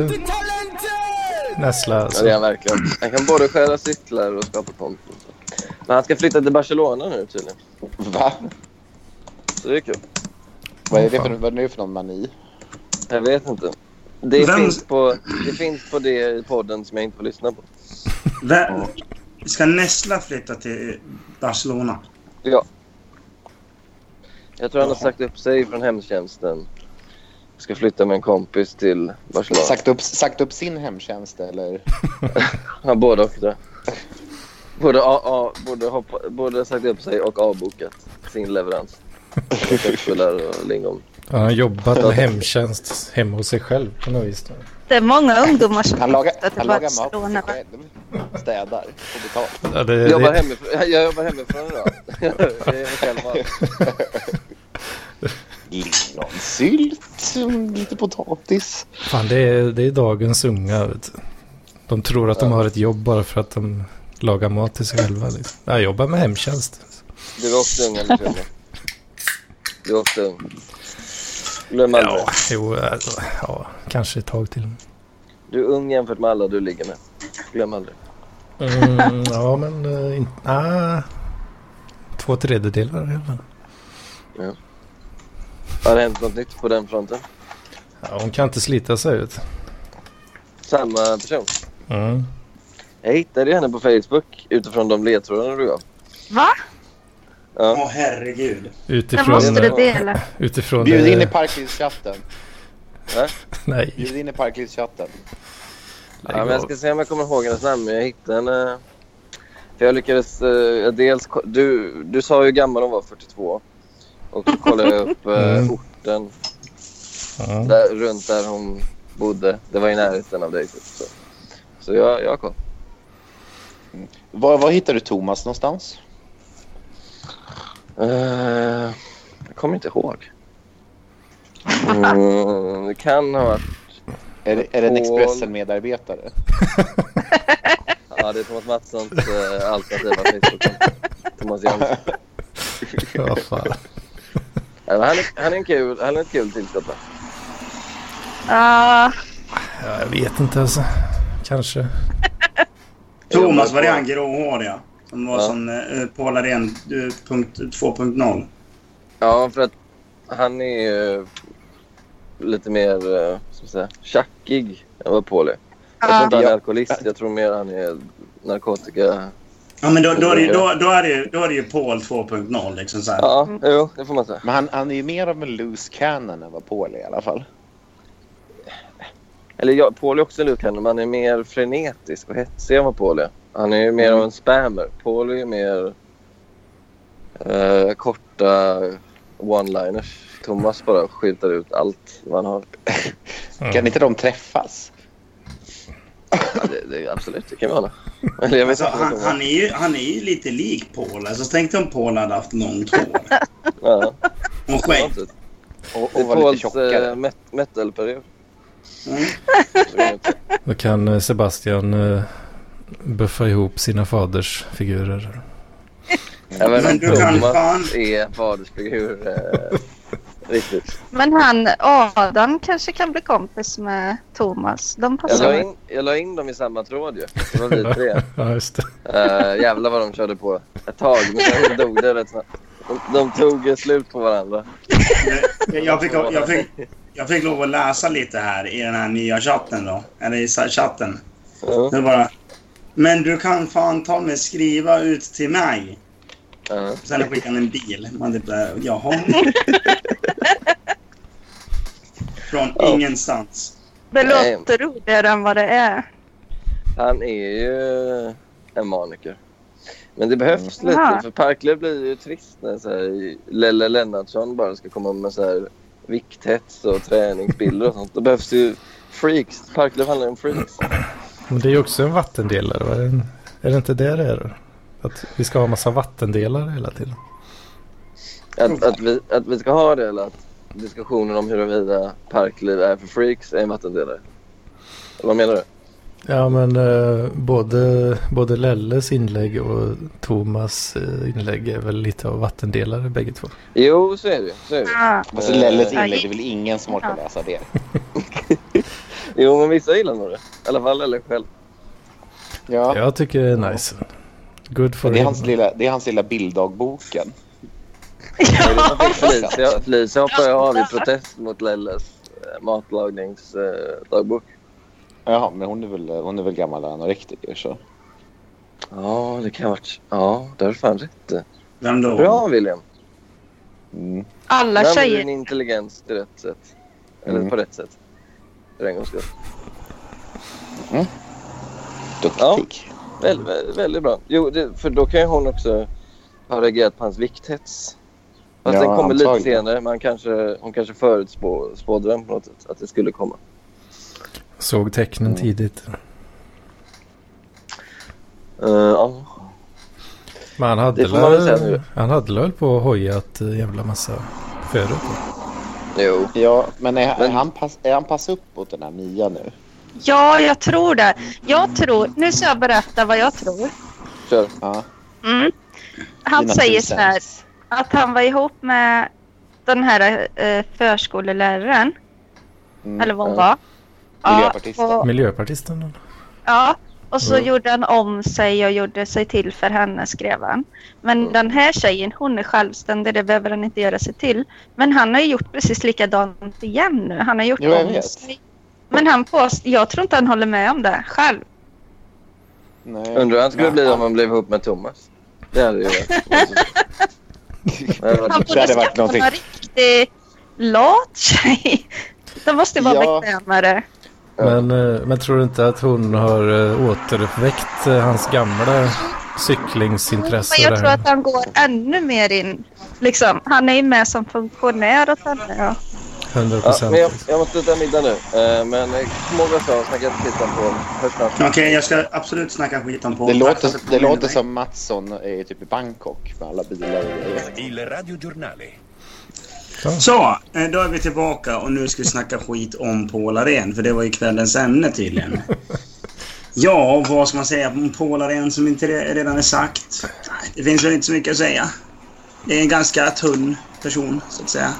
Speaker 2: näsla
Speaker 8: Ja, det är
Speaker 2: alltså.
Speaker 8: han verkligen. Han kan både stjäla cyklar och skapa content. Men han ska flytta till Barcelona nu tydligen.
Speaker 7: Va?
Speaker 8: Så det är kul.
Speaker 7: Vad är det för, vad är det för någon mani?
Speaker 8: Jag vet inte. Det,
Speaker 3: Vem-
Speaker 8: finns på, det finns på det i podden som jag inte får lyssna på.
Speaker 3: Vem? Ska Nessla flytta till Barcelona?
Speaker 8: Jag tror han har sagt upp sig från hemtjänsten. Ska flytta med en kompis till Barcelona.
Speaker 7: Sagt upp, sagt upp sin hemtjänst eller?
Speaker 8: Ja, både och tror jag. Både, a, a, både, hoppa, både sagt upp sig och avbokat sin leverans. Köttbullar och lingon.
Speaker 2: Han har jobbat med hemtjänst hemma hos sig själv på något vis.
Speaker 1: Det är många ungdomar som
Speaker 7: Han lagar,
Speaker 1: flyttar till
Speaker 7: han lagar mat till
Speaker 1: Barcelona.
Speaker 7: sig själv. Städar. Får betalt.
Speaker 2: Ja, det,
Speaker 8: Jag jobbar,
Speaker 2: det,
Speaker 8: hemifrån, jag jobbar hemifrån idag. Jag är själv van.
Speaker 7: Lingonsylt. Lite potatis.
Speaker 2: fan, det, är, det är dagens unga. Vet du. De tror att de har ett jobb bara för att de lagar mat till sig själva. Liksom. Jag jobbar med hemtjänst.
Speaker 8: Du är också ung eller hur? Du är också ung. Glöm aldrig.
Speaker 2: Jo, alltså, ja, kanske ett tag till.
Speaker 8: Du är ung jämfört med alla du ligger med. Glöm aldrig.
Speaker 2: Mm, ja, men eh, in, ah, två tredjedelar i alla fall.
Speaker 8: Har det hänt något nytt på den fronten?
Speaker 2: Ja, hon kan inte slita sig ut.
Speaker 8: Samma person.
Speaker 2: Mm.
Speaker 8: Jag hittade ju henne på Facebook utifrån de ledtrådarna du gav.
Speaker 1: Va?
Speaker 3: Åh herregud.
Speaker 1: Det
Speaker 2: Utifrån...
Speaker 1: måste du
Speaker 8: det-
Speaker 1: dela.
Speaker 2: utifrån
Speaker 7: Bjud in i
Speaker 2: eh,
Speaker 7: Parklivschatten.
Speaker 2: <laughs> Nej.
Speaker 7: Bjud in i Parklivschatten.
Speaker 8: Ja, men jag ska se om jag kommer ihåg hennes namn, men jag hittade henne. För jag lyckades... eh, jag dels, ko- du, du sa ju hur gammal hon var, 42. Och så kollade jag upp eh,
Speaker 2: Mm.
Speaker 8: orten
Speaker 2: Ja.
Speaker 8: där, runt där hon bodde. Det var i närheten av dig. typ, Så, så jag, jag kom.
Speaker 7: Var, var hittar du Thomas någonstans?
Speaker 8: Eh, jag kommer inte ihåg. Mm, det kan ha varit...
Speaker 7: Är, det- är det en
Speaker 8: Paul.
Speaker 7: Expressen-medarbetare?
Speaker 8: Ja, det är Thomas Mattssons eh, alternativa Facebook. Thomas Jansson.
Speaker 2: Ja, fan.
Speaker 8: Ja, men Han är, han är, en kul, han är ett kul tillskott. va?
Speaker 1: Ja,
Speaker 2: Ja, jag vet inte alltså. Kanske.
Speaker 3: Thomas var den gråhåriga. Som var
Speaker 8: Ja.
Speaker 3: som eh, Paul Arén eh, punkt 2.0.
Speaker 8: Ja, för att han är ju lite mer eh, ska man säga, tjackig än vad Paul är. Jag tror inte han är alkoholist. Jag tror mer han är narkotika...
Speaker 3: Ja, men då, då, är det, ju- då, då, är det, ju- då är det ju Paul 2.0 liksom så här.
Speaker 8: Ja, jo, det får man säga.
Speaker 7: Men han, han är ju mer av en loose cannon än vad Paul är i alla fall.
Speaker 8: Eller ja, Paul är också lukan, men han är mer frenetisk och hetsig än vad Paul är. Han är ju mer av en spammer. Paul är ju mer eh, korta one-liners. Thomas bara skyltar ut allt vad han har.
Speaker 7: Kan inte de träffas?
Speaker 8: Ja, det, det, absolut, det kan vi ha. Eller jag vet
Speaker 3: Alltså,
Speaker 8: inte. vad
Speaker 3: han,
Speaker 8: Thomas-
Speaker 3: han, är ju, han är ju lite lik Paul. Alltså, tänk dig om Paul hade haft långt hår
Speaker 8: Ja,
Speaker 3: och
Speaker 8: det var
Speaker 3: skägg.
Speaker 8: inte-
Speaker 7: Och,
Speaker 8: Det
Speaker 7: och var
Speaker 8: är
Speaker 7: lite
Speaker 8: Pauls
Speaker 7: tjockare?
Speaker 8: eh, met- metalperiod.
Speaker 3: Mm.
Speaker 2: Då kan eh, Sebastian eh, buffa ihop sina faders figurer.
Speaker 8: Även
Speaker 3: Men
Speaker 8: om
Speaker 3: du kan
Speaker 8: Thomas
Speaker 3: fan...
Speaker 8: är fadersfigur.
Speaker 3: <laughs>
Speaker 8: Eh, riktigt.
Speaker 1: men han Adam kanske kan bli kompis med Thomas. De
Speaker 3: Alltså-
Speaker 8: Jag la,
Speaker 1: passar.
Speaker 8: in, jag la in dem i samma tråd ju. Det var vi tre.
Speaker 2: <laughs> Ja, just det.
Speaker 8: Eh, jävlar vad de körde på ett tag. Men sen dog det rätt snabbt. De, de tog eh, slut på varandra.
Speaker 3: Jag, jag, fick, jag, fick, jag fick lov att läsa lite här i den här nya chatten då. Eller i sa- chatten.
Speaker 8: Ja,
Speaker 3: Det är bara... Men du kan fan ta mig skriva ut till mig.
Speaker 8: ja.
Speaker 3: Sen skickade han en bil. Man typ där, jaha. Från
Speaker 8: Ja.
Speaker 3: ingenstans.
Speaker 1: Det
Speaker 8: Nej.
Speaker 1: låter roligare än vad det är.
Speaker 8: Han är ju en maniker. Men det behövs
Speaker 1: Mm.
Speaker 8: lite.
Speaker 1: Aha.
Speaker 8: För Parkler blir ju trist när så här, Lelle Lennartsson bara ska komma med så här, vikthets och träningsbilder och sånt. Då behövs det ju freaks. Parkler handlar ju om freaks.
Speaker 2: Men det är ju också en vattendelare. Va? En- Är det inte det det är? då? Att vi ska ha massa vattendelare hela tiden.
Speaker 8: Att, att, vi, att vi ska ha det eller att diskussionen om huruvida parkliv är för freaks är en vattendelare. Eller Vad menar du?
Speaker 2: Ja, men eh, både, både Lelles inlägg och Thomas eh, inlägg är väl lite av vattendelare bägge två.
Speaker 8: Jo, så är det ju. så är det ju.
Speaker 1: Ja.
Speaker 7: Alltså Lelles inlägg, det är väl ingen som orkar läsa det.
Speaker 8: Jo, men vissa gillar nog det. I alla fall eller själv.
Speaker 7: Ja.
Speaker 2: Jag tycker det är nice. Good for
Speaker 7: Det är
Speaker 2: him.
Speaker 7: hans lilla, det är hans lilla bilddagboken.
Speaker 8: Det är det som fick Felicia, Felicia hoppade av i protest mot Lelles eh, matlagningsdagbok.
Speaker 7: Ja, men hon är väl, hon är väl gammal anorektiker så.
Speaker 8: Ja, det kan ha varit... Ja, det har du fan rätt i.
Speaker 3: Vem då?
Speaker 8: Bra, William.
Speaker 7: Mm.
Speaker 1: Alla
Speaker 8: Där använder du
Speaker 1: tjejer.
Speaker 8: din intelligens till rätt sätt. Eller
Speaker 7: Mm.
Speaker 8: på rätt sätt. För en gångs skull.
Speaker 7: Duktig.
Speaker 8: Väl, väl, väldigt bra. Jo, det, för då kan ju hon också ha reagerat på hans vikthets. Fast
Speaker 7: Ja,
Speaker 8: den kommer lite
Speaker 7: antagligen.
Speaker 8: senare. Man kanske, hon kanske förutspådde den på något sätt. Att det skulle komma.
Speaker 2: Såg tecknen
Speaker 8: Mm.
Speaker 2: tidigt.
Speaker 8: Eh, ja.
Speaker 2: Men han hade
Speaker 8: Det får man väl säga
Speaker 2: väl
Speaker 8: nu.
Speaker 2: han hade väl på och hojat eh, jävla massa förut.
Speaker 8: Jo.
Speaker 7: Ja, men, är, är, han pass, är han pass upp åt den här Mia nu?
Speaker 1: Ja, jag tror det. Jag tror... Nu ska jag berätta vad jag tror.
Speaker 8: Kör.
Speaker 7: Ja.
Speaker 1: Mm. Han
Speaker 7: Dina
Speaker 1: säger
Speaker 7: two
Speaker 1: så här.
Speaker 7: cents.
Speaker 1: Att han var ihop med den här eh, förskoleläraren.
Speaker 7: Mm.
Speaker 1: Eller vad hon
Speaker 8: ja.
Speaker 1: var.
Speaker 7: Miljöpartisten.
Speaker 1: och-
Speaker 2: Miljöpartisten. eller?
Speaker 1: Ja, och så
Speaker 2: Mm.
Speaker 1: gjorde han om sig och gjorde sig till för henne, skrev han. Men
Speaker 7: Mm.
Speaker 1: den här tjejen, hon är självständig, det behöver han inte göra sig till. Men han har ju gjort precis likadant igen nu. Han har gjort
Speaker 7: Jo, jag
Speaker 1: om
Speaker 7: vet.
Speaker 1: sig. Men han påst- jag tror inte han håller med om det själv.
Speaker 7: Nej.
Speaker 8: Undrar hur han skulle bli om han blev ihop med Thomas. Det hade ju varit... Det hade
Speaker 1: Han
Speaker 8: varit-
Speaker 7: Det
Speaker 1: borde
Speaker 7: hade varit
Speaker 1: skaffa
Speaker 7: någonting.
Speaker 1: en riktig lat tjej. <laughs> De måste ju vara
Speaker 7: Ja.
Speaker 1: bekvämare.
Speaker 2: Men, eh, men tror du inte att hon har eh, återuppväckt eh, hans gamla cyklingsintresse?
Speaker 1: Men jag
Speaker 2: där?
Speaker 1: tror att han går ännu mer in. Liksom, han är ju med som funktionär åt henne. Ja.
Speaker 2: 100
Speaker 8: Ja,
Speaker 2: procent.
Speaker 8: men jag, jag måste ta middag nu. Eh, men eh, kom ihåg vad jag sa. Snacka inte skit om på. Hörs snart.
Speaker 3: Okej, jag ska absolut snacka skit om Paul.
Speaker 7: Det
Speaker 3: Tack för att du
Speaker 7: låter, det
Speaker 3: påminner
Speaker 7: låter
Speaker 3: mig.
Speaker 7: som Mattsson är typ i Bangkok med alla bilar och grejer.
Speaker 5: Il radiogiornale.
Speaker 3: Så, eh, då är vi tillbaka och nu ska vi snacka skit om Paul Arén, för det var ju kvällens ämne tydligen. Ja, vad ska man säga om Paul Arén som inte re- redan är sagt? Det finns väl inte så mycket att säga. Det är en ganska tunn person, så att säga.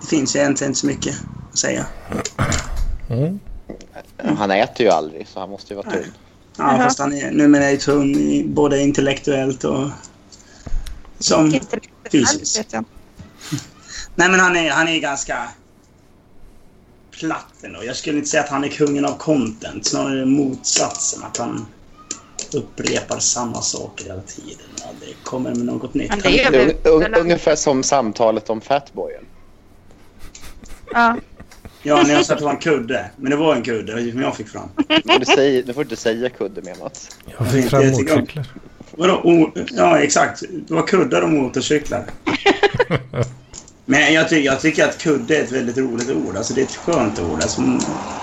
Speaker 3: Det finns egentligen inte så mycket att säga.
Speaker 7: Han äter ju aldrig, så han måste ju vara tunn.
Speaker 3: Ja,
Speaker 1: Jaha.
Speaker 3: fast han är numera är tunn i, både intellektuellt och... Som...
Speaker 1: Inte riktigt
Speaker 3: Fysiskt.
Speaker 1: alls, vet jag.
Speaker 3: Nej, men han är, han är ganska platt ändå. Jag skulle inte säga att han är kungen av content. Snarare motsatsen. Att han upprepar samma saker hela tiden. Aldrig kommer med något nytt.
Speaker 1: Men det är
Speaker 7: Det är
Speaker 1: ju...
Speaker 7: un- un- Ungefär som samtalet om Fatboyen.
Speaker 1: Ja.
Speaker 3: Ja, när jag sa att det var en kudde. Men det var en kudde som jag fick fram.
Speaker 7: Men Du, säger, du får inte säga kudde med Mats.
Speaker 2: Jag fick fram
Speaker 3: Jag tycker om-
Speaker 2: motorcyklar.
Speaker 3: Vadå? O- ja, exakt. Det var kuddar och motorcyklar. Men jag, ty- jag tycker att kudde är ett väldigt roligt ord. Alltså, det är ett skönt ord. Alltså,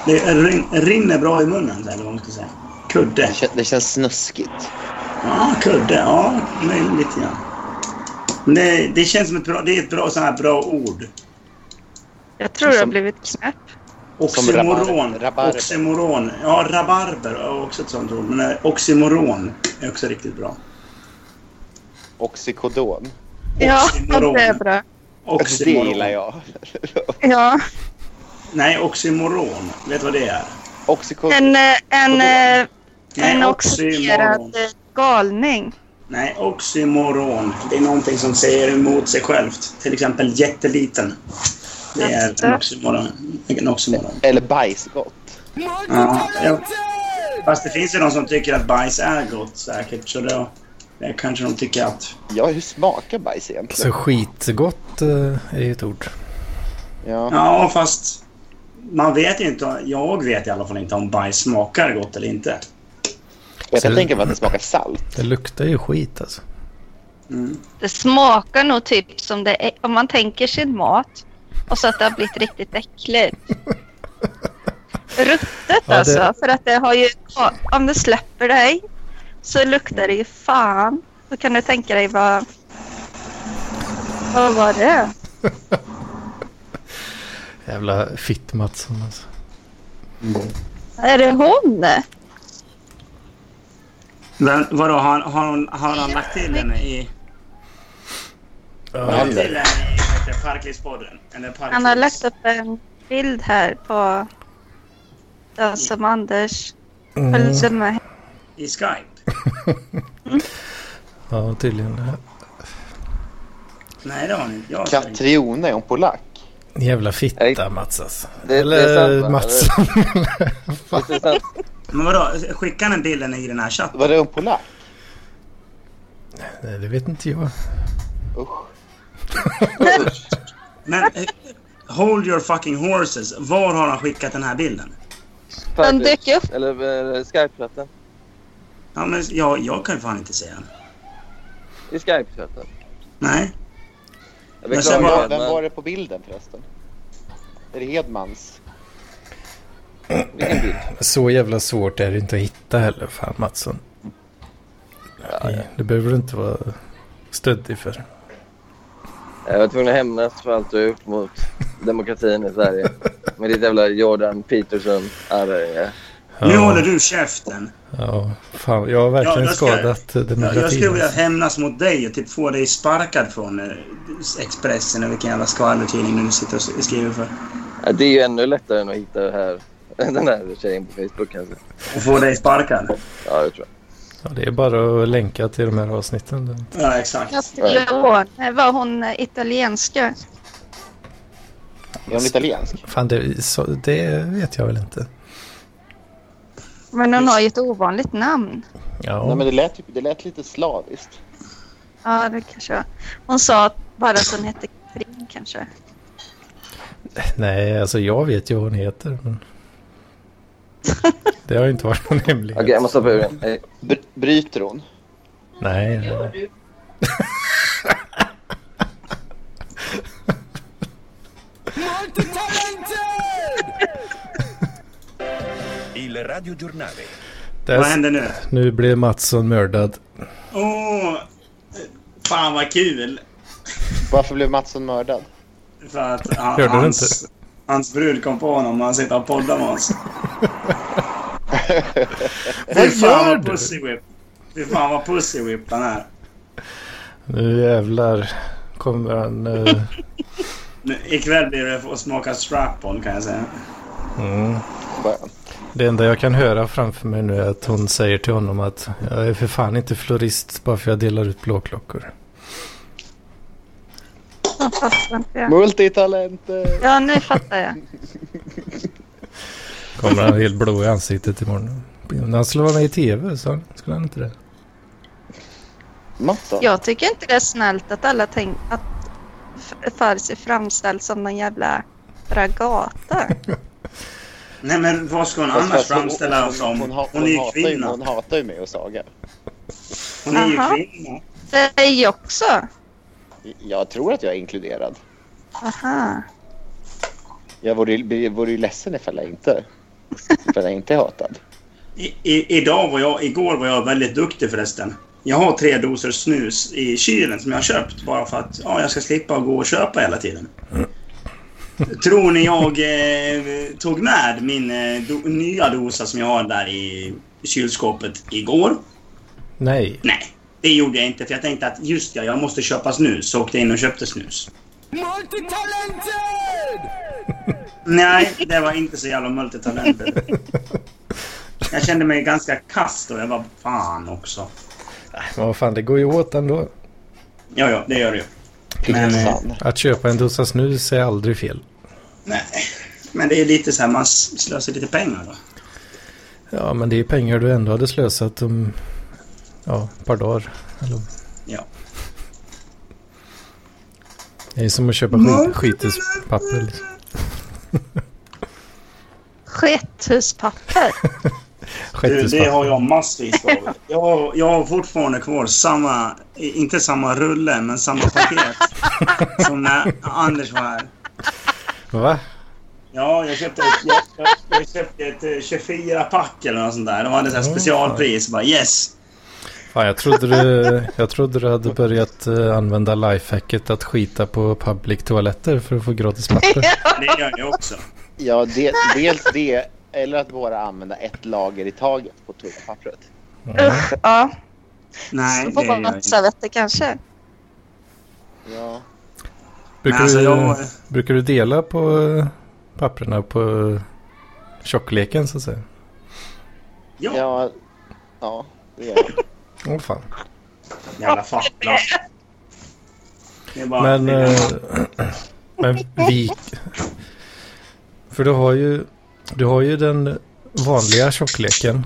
Speaker 3: det rin- rinner bra i munnen, eller vad man ska säga. Kudde.
Speaker 7: Det, kän- det känns snuskigt.
Speaker 3: Ja, kudde. Ja, men lite grann. Men det, det känns som ett bra, det är ett bra, sån här bra ord.
Speaker 1: Jag tror det har
Speaker 7: Som-
Speaker 1: blivit knäpp.
Speaker 3: Oxymoron.
Speaker 7: rabar- rabarber.
Speaker 3: Oxymoron. Ja, rabarber är också ett sånt ord. Men eh, oxymoron är också riktigt bra.
Speaker 7: Alltså, Oxycodon.
Speaker 1: Ja,
Speaker 3: Oxymoron.
Speaker 1: det är bra.
Speaker 7: Det gillar jag.
Speaker 1: Ja.
Speaker 3: Nej, oxymoron. Vet du vad det är?
Speaker 7: Oxycodon.
Speaker 1: En, eh, en, eh, en
Speaker 3: Nej,
Speaker 1: oxiderad eh, galning.
Speaker 3: Nej, oxymoron. Det är någonting som säger emot sig självt. Till exempel jätteliten. Det är en oxymoron. En oxymoron.
Speaker 7: Eller bajsgott.
Speaker 3: Ja, ja. Fast det finns ju de som tycker att bajs är gott säkert. Så då det kanske de tycker att...
Speaker 7: Ja, hur smakar bajs egentligen?
Speaker 2: Så skitgott eh, är ju ett ord.
Speaker 7: Ja.
Speaker 3: Ja, fast man vet ju inte. Jag vet i alla fall inte om bajs smakar gott eller inte.
Speaker 7: Jag kan tänka mig att det smakar salt.
Speaker 2: Det luktar ju skit alltså.
Speaker 1: Det smakar nog typ som det är, om man tänker sin mat och så att det har blivit riktigt äckligt. Ruttet
Speaker 2: Ja, det-
Speaker 1: alltså, för att det har ju, om det släpper dig så luktar det ju fan. Så kan du tänka dig vad, vad var det?
Speaker 2: Jävla fitt-Mattsson alltså.
Speaker 1: Är det hon?
Speaker 3: Men vadå, har, har, hon, har han lagt till den i...
Speaker 2: Ja,
Speaker 3: Lagt till den i vad heter det, Parklivspodden? Eller Parklivs-
Speaker 1: Han har lagt upp en bild här på den som Anders följde med.
Speaker 3: I Skype?
Speaker 2: ja tydligen.
Speaker 3: Nej, det har han inte. Jag har inte.
Speaker 7: Katrione, är hon polack?
Speaker 2: Jävla fitta
Speaker 8: Nej.
Speaker 2: Mats alltså.
Speaker 8: Det- det är sant,
Speaker 2: Eller
Speaker 8: va?
Speaker 2: Mattsson. <laughs>
Speaker 8: Det är sant.
Speaker 3: Men vadå, skickar den bilden i den här chatten?
Speaker 7: Var det hon polack?
Speaker 2: Nej, det vet inte jag.
Speaker 7: Usch.
Speaker 3: Men eh, hold your fucking horses. Var har han skickat den här bilden?
Speaker 1: Den dök upp.
Speaker 8: Eller eh, Skype-chatten.
Speaker 3: Ja, men jag, jag kan fan inte se den.
Speaker 8: I Skype-chatten.
Speaker 3: Nej.
Speaker 8: Jag
Speaker 3: Men sen
Speaker 7: Vem
Speaker 8: beklagar,
Speaker 3: var-
Speaker 7: var, vem var
Speaker 8: men
Speaker 7: det på bilden förresten? Är det Hedmans?
Speaker 8: vilken bild?
Speaker 2: Så jävla svårt är det inte att hitta heller. Fan Mattsson. Nej, Det behöver du inte vara stöddig för.
Speaker 8: Jag var tvungen att hämnas för allt du har gjort mot demokratin i Sverige. Med ditt jävla Jordan Peterson arvinge.
Speaker 2: Ja,
Speaker 3: Nu håller du käften.
Speaker 2: ja, fan, jag har verkligen
Speaker 3: Ja, jag ska-
Speaker 2: skadat eh,
Speaker 3: Jag, jag skulle
Speaker 2: demokratin.
Speaker 3: vilja
Speaker 2: alltså.
Speaker 3: hämnas mot dig och typ få dig sparkad från eh, Expressen eller vilken jävla skvallertidning du sitter och s- skriver för.
Speaker 8: Ja, Det är ju ännu lättare än att hitta det här. den här tjejen på Facebook kanske.
Speaker 3: Och få dig sparkad.
Speaker 8: Ja, jag tror jag.
Speaker 2: Ja, det är bara att länka till de här avsnitten.
Speaker 3: Ja, exakt.
Speaker 1: Castiglione, var hon eh, italienska?
Speaker 7: Är hon italiensk?
Speaker 2: Fan, det, så, det vet jag väl inte.
Speaker 1: Men hon har ju ett ovanligt namn.
Speaker 2: Ja,
Speaker 7: Nej, men det lät, ju- det lät lite slaviskt.
Speaker 1: Ja, det kanske var. Hon sa att bara att hon hette Katrin kanske.
Speaker 2: nej, alltså jag vet ju vad hon heter.
Speaker 7: <laughs>
Speaker 2: Men... Det har ju inte varit någon hemlighet.
Speaker 8: Okej, jag måste hoppa ur den. Hej.
Speaker 7: Br- bryter hon?
Speaker 2: Nej, nej, nej.
Speaker 5: Il radiogiornale.
Speaker 2: Där,
Speaker 3: Vad händer nu?
Speaker 2: nu blir Mattsson mördad.
Speaker 3: Åh! Oh, fan vad kul!
Speaker 7: Varför blev Mattsson mördad?
Speaker 3: För att han,
Speaker 2: Hörde du
Speaker 3: hans, hans brud kom på honom när han sitter och poddar med
Speaker 2: <laughs>
Speaker 3: oss. Fy
Speaker 2: Vad
Speaker 3: fan
Speaker 2: gör
Speaker 3: vad
Speaker 2: du?
Speaker 3: pussy whip. Fy fan vad pussy whip han är.
Speaker 2: Nu jävlar. kommer han... eh,
Speaker 3: <laughs> Nu, ikväll blir det att smaka strap-on kan jag säga.
Speaker 2: mm. Det enda jag kan höra framför mig nu är att hon säger till honom att jag är för fan inte florist bara för jag delar ut blåklockor.
Speaker 1: Jag fattar inte jag.
Speaker 7: Multitalenter!
Speaker 1: Ja, nu fattar jag.
Speaker 2: Kommer han helt blå i ansiktet imorgon. När han skulle vara med i tv så skulle han inte det.
Speaker 7: Mattan?
Speaker 1: Jag tycker inte det är snällt att alla tänker att F- Farsi framställs som någon jävla ragata.
Speaker 3: Nej men vad ska hon
Speaker 7: Fast-
Speaker 3: annars
Speaker 7: fast hon-
Speaker 3: framställa oss som?
Speaker 7: hon ha-
Speaker 3: Hon är ju
Speaker 7: hatar ju-
Speaker 3: kvinna.
Speaker 7: Hon hatar ju mig och Saga.
Speaker 3: Hon är ju
Speaker 1: Aha.
Speaker 3: kvinna.
Speaker 1: Dig också.
Speaker 7: Jag tror att jag är inkluderad.
Speaker 1: Aha.
Speaker 7: Jag vore, ju- vore ju ledsen ifall jag inte, ifall jag inte är hatad.
Speaker 3: I, i, idag var jag, igår var jag väldigt duktig förresten. Jag har tre doser snus i kylen som jag har köpt bara för att ja, jag ska slippa gå och köpa hela tiden. Tror ni jag eh, tog med min eh, do, nya dosa som jag har där i kylskåpet igår?
Speaker 2: Nej.
Speaker 3: Nej, det gjorde jag inte för jag tänkte att just ja, jag måste köpa snus. Så åkte jag in och köpte snus. Nej, det var inte så jävla multitalenter. Jag kände mig ganska kast och jag var fan också.
Speaker 2: Men vad fan, det går ju åt ändå.
Speaker 3: Ja, ja, det gör det ju. Men, eh,
Speaker 7: Fan.
Speaker 2: Att köpa en dosa snus är aldrig fel.
Speaker 3: nej. Men det är lite så här, man s- slösar lite pengar då.
Speaker 2: Ja, men det är pengar du ändå hade slösat om ja, ett par dagar. Eller...
Speaker 3: Ja.
Speaker 2: Det är som att köpa skit, skithuspapper. Liksom.
Speaker 1: Skethuspapper.
Speaker 3: Du, det har
Speaker 2: Skethuspapper.
Speaker 3: jag massvis av. Jag, har- jag har fortfarande kvar samma, i- inte samma rulle, men samma paket som när Anders var här.
Speaker 2: Va?
Speaker 3: Ja, jag köpte ett, jag, jag, jag köpte ett eh, 24-pack eller något sånt där. De hade så här
Speaker 2: Mm.
Speaker 3: specialpris. Bara yes!
Speaker 2: Fan, jag, trodde du, jag trodde du hade börjat eh, använda lifehacket att skita på public toaletter för att få gratis papper.
Speaker 3: <laughs> Det gör jag också.
Speaker 7: Ja, de, dels det, eller att bara använda ett lager i taget på toapappret.
Speaker 1: Usch, ja.
Speaker 3: Nej,
Speaker 1: Så
Speaker 3: det
Speaker 1: får
Speaker 3: gör
Speaker 1: man
Speaker 3: jag inte.
Speaker 1: nattservetter kanske.
Speaker 7: Ja.
Speaker 2: Brukar,
Speaker 3: Men alltså,
Speaker 2: du,
Speaker 3: jag,
Speaker 2: brukar du dela på eh, papperna på eh, tjockleken så att säga?
Speaker 3: ja,
Speaker 7: Ja, ja det gör jag.
Speaker 2: Åh fan.
Speaker 3: jävla fackla. Det är bara,
Speaker 2: Men,
Speaker 3: det är
Speaker 2: eh, <clears throat> men vik. För du har ju, du har ju den vanliga tjockleken.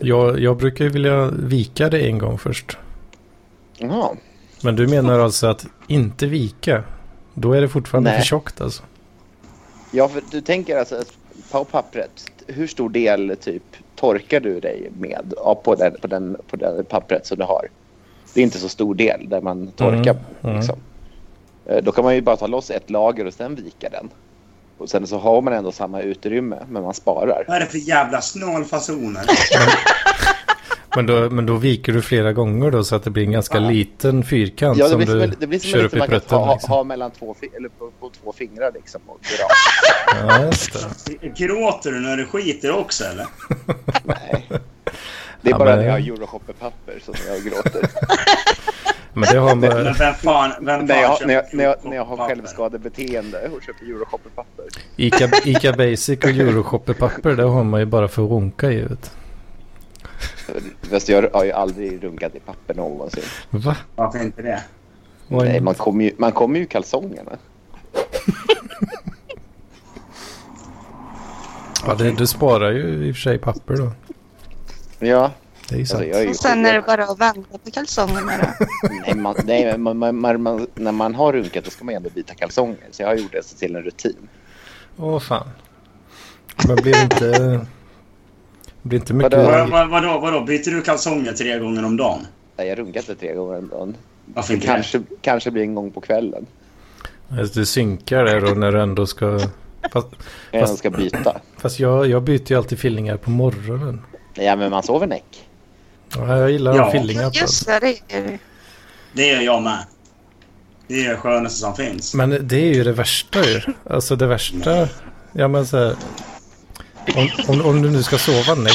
Speaker 2: Jag, jag brukar ju vilja vika det en gång först.
Speaker 7: Jaha.
Speaker 2: Men du menar alltså att inte vika? Då är det fortfarande
Speaker 7: Nej.
Speaker 2: för tjockt alltså?
Speaker 7: Ja, för du tänker alltså att på pappret, hur stor del typ torkar du dig med ja, på den, på den, på den pappret som du har? Det är inte så stor del där man torkar.
Speaker 2: Mm, mm.
Speaker 7: Liksom. Eh, Då kan man ju bara ta loss ett lager och sen vika den. Och sen så har man ändå samma utrymme, men man sparar.
Speaker 3: vad är det för jävla snålfasoner?
Speaker 2: Men då, men då viker du flera gånger då så att det blir en ganska liten fyrkant
Speaker 7: Ja, det
Speaker 2: som
Speaker 7: blir
Speaker 2: du
Speaker 7: som, en- det blir som
Speaker 2: kör
Speaker 7: en
Speaker 2: upp i
Speaker 7: liten man kan
Speaker 2: prutten.
Speaker 7: ha,
Speaker 2: liksom.
Speaker 7: ha mellan två, fi- eller på, på två fingrar liksom och dra.
Speaker 2: <laughs> Ja, just det.
Speaker 3: Gråter du när du skiter också eller?
Speaker 7: Nej. Det är
Speaker 2: Ja,
Speaker 7: bara
Speaker 2: men-
Speaker 7: när jag har euroshopperpapper som jag gråter.
Speaker 2: Men det har
Speaker 3: <laughs> Men
Speaker 2: man...
Speaker 3: vem fan, vem fan
Speaker 7: när, jag,
Speaker 3: köper
Speaker 7: när, jag, när, jag, när jag
Speaker 3: papper?
Speaker 7: har självskadebeteende och köper euroshopperpapper.
Speaker 2: Ica, Ica Basic och Euroshopper-papper, det har man ju bara för att runka i. vet
Speaker 7: Fast jag har ju aldrig runkat i papper någonsin.
Speaker 2: du. Va?
Speaker 3: Varför inte det?
Speaker 2: Vad är-
Speaker 7: Nej, man kommer ju, man kommer ju i kalsongerna.
Speaker 2: Ja, det, du sparar ju i och för sig papper då.
Speaker 7: Ja,
Speaker 2: Det är ju sant.
Speaker 7: alltså jag är ju
Speaker 1: Och sen är det
Speaker 7: sjuk.
Speaker 1: bara att vända på kalsongerna då.
Speaker 7: Nej, man, nej men man, man, man, man, när man har runkat då ska man ju ändå byta kalsonger. Så jag har gjort det till en rutin.
Speaker 2: Åh fan. Men blir det inte... Blir inte mycket...
Speaker 7: Vadå?
Speaker 3: Vad, vad, vadå, vadå, byter du kalsonger tre gånger om dagen?
Speaker 7: Nej, Jag runkat det tre gånger om dagen.
Speaker 3: Varför inte det?
Speaker 7: Kanske, kanske blir en gång på kvällen.
Speaker 2: Alltså, du synkar där då när du ändå ska... Fast,
Speaker 7: När
Speaker 2: Fast-
Speaker 7: jag ska byta.
Speaker 2: fast jag, jag byter ju alltid fillingar på morgonen.
Speaker 7: Ja, men man sover näck.
Speaker 2: Ja, jag gillar
Speaker 3: Ja.
Speaker 2: fillingar på.
Speaker 1: Just det, det är ju. <laughs>
Speaker 3: Det gör jag med. Det är det skönaste som finns.
Speaker 2: Men det är ju det värsta ju. Alltså det värsta. Ja men så här. Om, om, om du nu ska sova näck.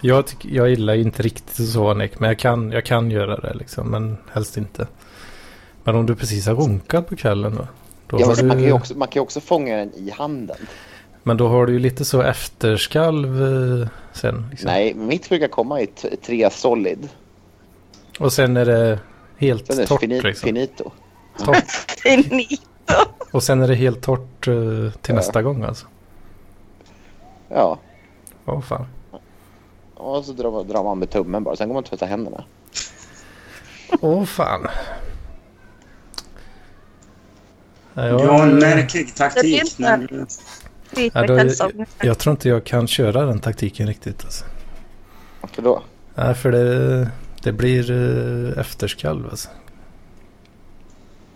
Speaker 2: Jag, tyck, jag gillar ju inte riktigt Sonic, men jag kan, jag kan göra det liksom. Men helst inte. Men om du precis har runkat på kvällen då? då
Speaker 7: Ja,
Speaker 2: har
Speaker 7: fast man, kan
Speaker 2: du,
Speaker 7: ju också, man kan ju också fånga den i handen.
Speaker 2: Men då har du ju lite så efterskalv eh, sen. Liksom.
Speaker 7: Nej, mitt brukar komma i t- tre solid.
Speaker 2: Och sen är det helt
Speaker 7: Sen är det
Speaker 2: torrt
Speaker 7: fini-
Speaker 2: liksom.
Speaker 7: finito.
Speaker 2: Torrt.
Speaker 1: Finito.
Speaker 2: Och sen är det helt torrt eh, till
Speaker 7: Ja.
Speaker 2: nästa gång alltså.
Speaker 7: Ja,
Speaker 2: Åh fan.
Speaker 7: och så drar, drar man med tummen bara. Sen går man och tvättar händerna.
Speaker 2: Åh fan. Ja,
Speaker 3: Du har en märklig taktik.
Speaker 1: Jag vet
Speaker 3: När,
Speaker 1: Dit
Speaker 2: ja,
Speaker 1: med
Speaker 2: då,
Speaker 1: kalsongerna.
Speaker 2: jag, jag tror inte jag kan köra den taktiken riktigt. Alltså.
Speaker 7: Varför då?
Speaker 2: Nej, för det, det blir eh, efterskalv alltså.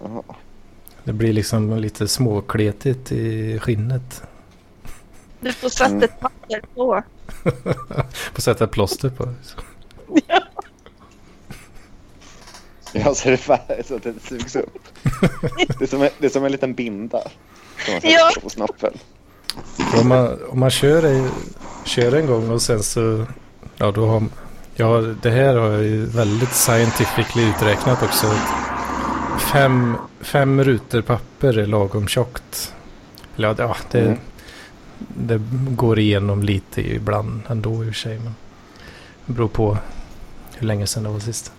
Speaker 7: Jaha.
Speaker 2: Det blir liksom lite småkletigt i skinnet.
Speaker 1: Du får
Speaker 7: Mm.
Speaker 1: sätta ett papper på.
Speaker 2: Får sätta plåster på. liksom. Så.
Speaker 7: Ja, så är det färdigt så att det sugs upp.
Speaker 2: <laughs>
Speaker 7: Det är som en, det är som en liten binda. Som man sätter
Speaker 1: Ja.
Speaker 7: på snoppen.
Speaker 2: Om man, om man kör, en- kör en gång och sen så... Ja, då har, ja, det här har jag ju väldigt scientifically uträknat också. Att Fem, fem rutor papper är lagom tjockt. Eller ja, det- ja det,
Speaker 7: Mm.
Speaker 2: det går igenom lite ibland ändå i och för sig. Men det beror på hur länge sedan det var sist.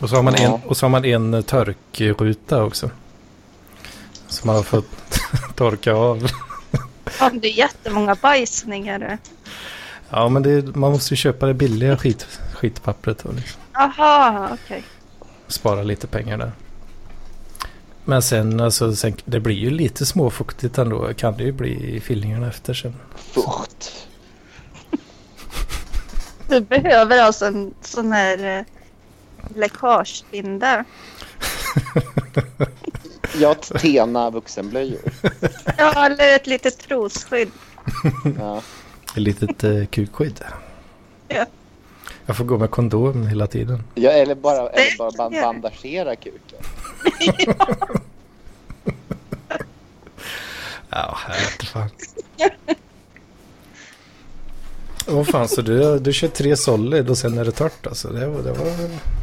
Speaker 2: Och så har man,
Speaker 7: Ja.
Speaker 2: en, och så har man en torkruta också. Som man har fått <laughs> torka av.
Speaker 1: Om det är jättemånga bajsningar.
Speaker 2: Ja, men det, man måste ju köpa det billiga skit, skitpappret och liksom
Speaker 1: Jaha, okej.
Speaker 2: spara lite pengar där. Men sen, alltså, sen, det blir ju lite småfuktigt ändå. Kan det ju bli i fyllningarna efter sen.
Speaker 7: Fukt.
Speaker 1: Du behöver alltså en sån här eh, läckagebinda.
Speaker 7: Ja, Tena vuxenblöjor.
Speaker 1: Ja, eller ett litet trosskydd.
Speaker 7: Ja.
Speaker 2: Ett litet eh, kukskydd.
Speaker 1: Ja.
Speaker 2: Jag får gå med kondom hela tiden.
Speaker 7: Ja, eller bara, eller bara ban- bandagera kuken.
Speaker 2: Ja, jag vet inte fan. Åh fan, så du, du kör tre solid och sen är det torrt alltså. Det, var- det, var,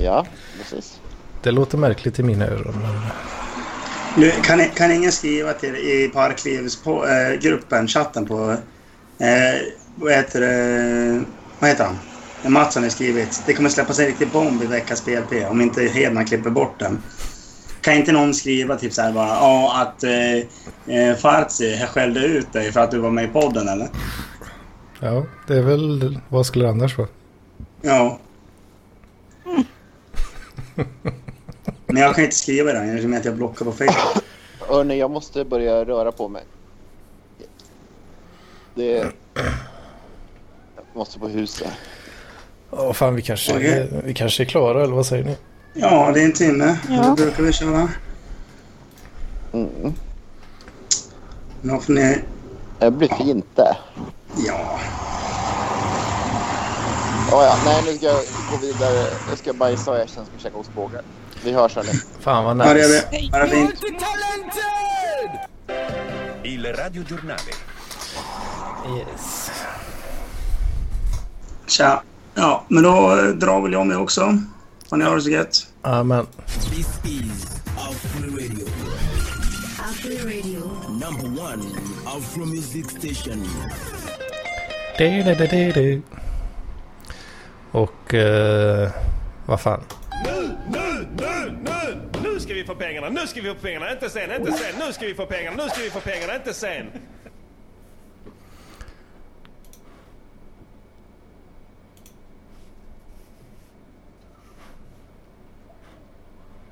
Speaker 7: Ja, precis.
Speaker 2: det låter märkligt i mina öron. Men...
Speaker 3: du, kan, kan ingen skriva till i Parklivs på, eh, gruppen, chatten på... Eh, vad heter det? Vad heter han? Det Mats har skrivit. Det kommer släppas en riktig bomb i veckans PLP om inte Hedman klipper bort den. Kan inte någon skriva typ så här bara ja att eh, eh, Farzi jag skällde ut dig för att du var med i podden eller?
Speaker 2: Ja, det är väl... Vad skulle det annars vara?
Speaker 3: Ja. Men jag kan inte skriva den eftersom att jag blockar på Facebook.
Speaker 7: Hörni, jag måste börja röra på mig. Det... Jag måste på huset.
Speaker 2: Ja, fan vi kanske,
Speaker 3: Okej.
Speaker 2: vi kanske är klara eller vad säger ni?
Speaker 3: Ja, det är en timme.
Speaker 1: Ja.
Speaker 3: Då brukar vi köra.
Speaker 7: Mm.
Speaker 3: Nu får ni...
Speaker 7: Det blir fint det.
Speaker 3: Ja.
Speaker 7: Oh, ja. Nej, nu ska jag gå vidare. Jag ska bajsa och jag sen ska jag käka ostbågar. Vi hörs hörni.
Speaker 2: Fan vad
Speaker 3: Ha det,
Speaker 2: nice.
Speaker 3: vi. ha det fint.
Speaker 5: Il radiogiornale.
Speaker 2: Yes.
Speaker 3: Tja. Ja, men då eh, drar väl jag med också. Har ni ha det så gött.
Speaker 2: Ja, men
Speaker 10: Number one Afro music station.
Speaker 2: det, det, det, det, det. Och... Eh, vad fan.
Speaker 9: Nu, nu, nu, nu! Nu ska vi få pengarna, nu ska vi få pengarna, inte sen, inte sen, nu ska vi få pengarna, nu ska vi få pengarna, inte sen!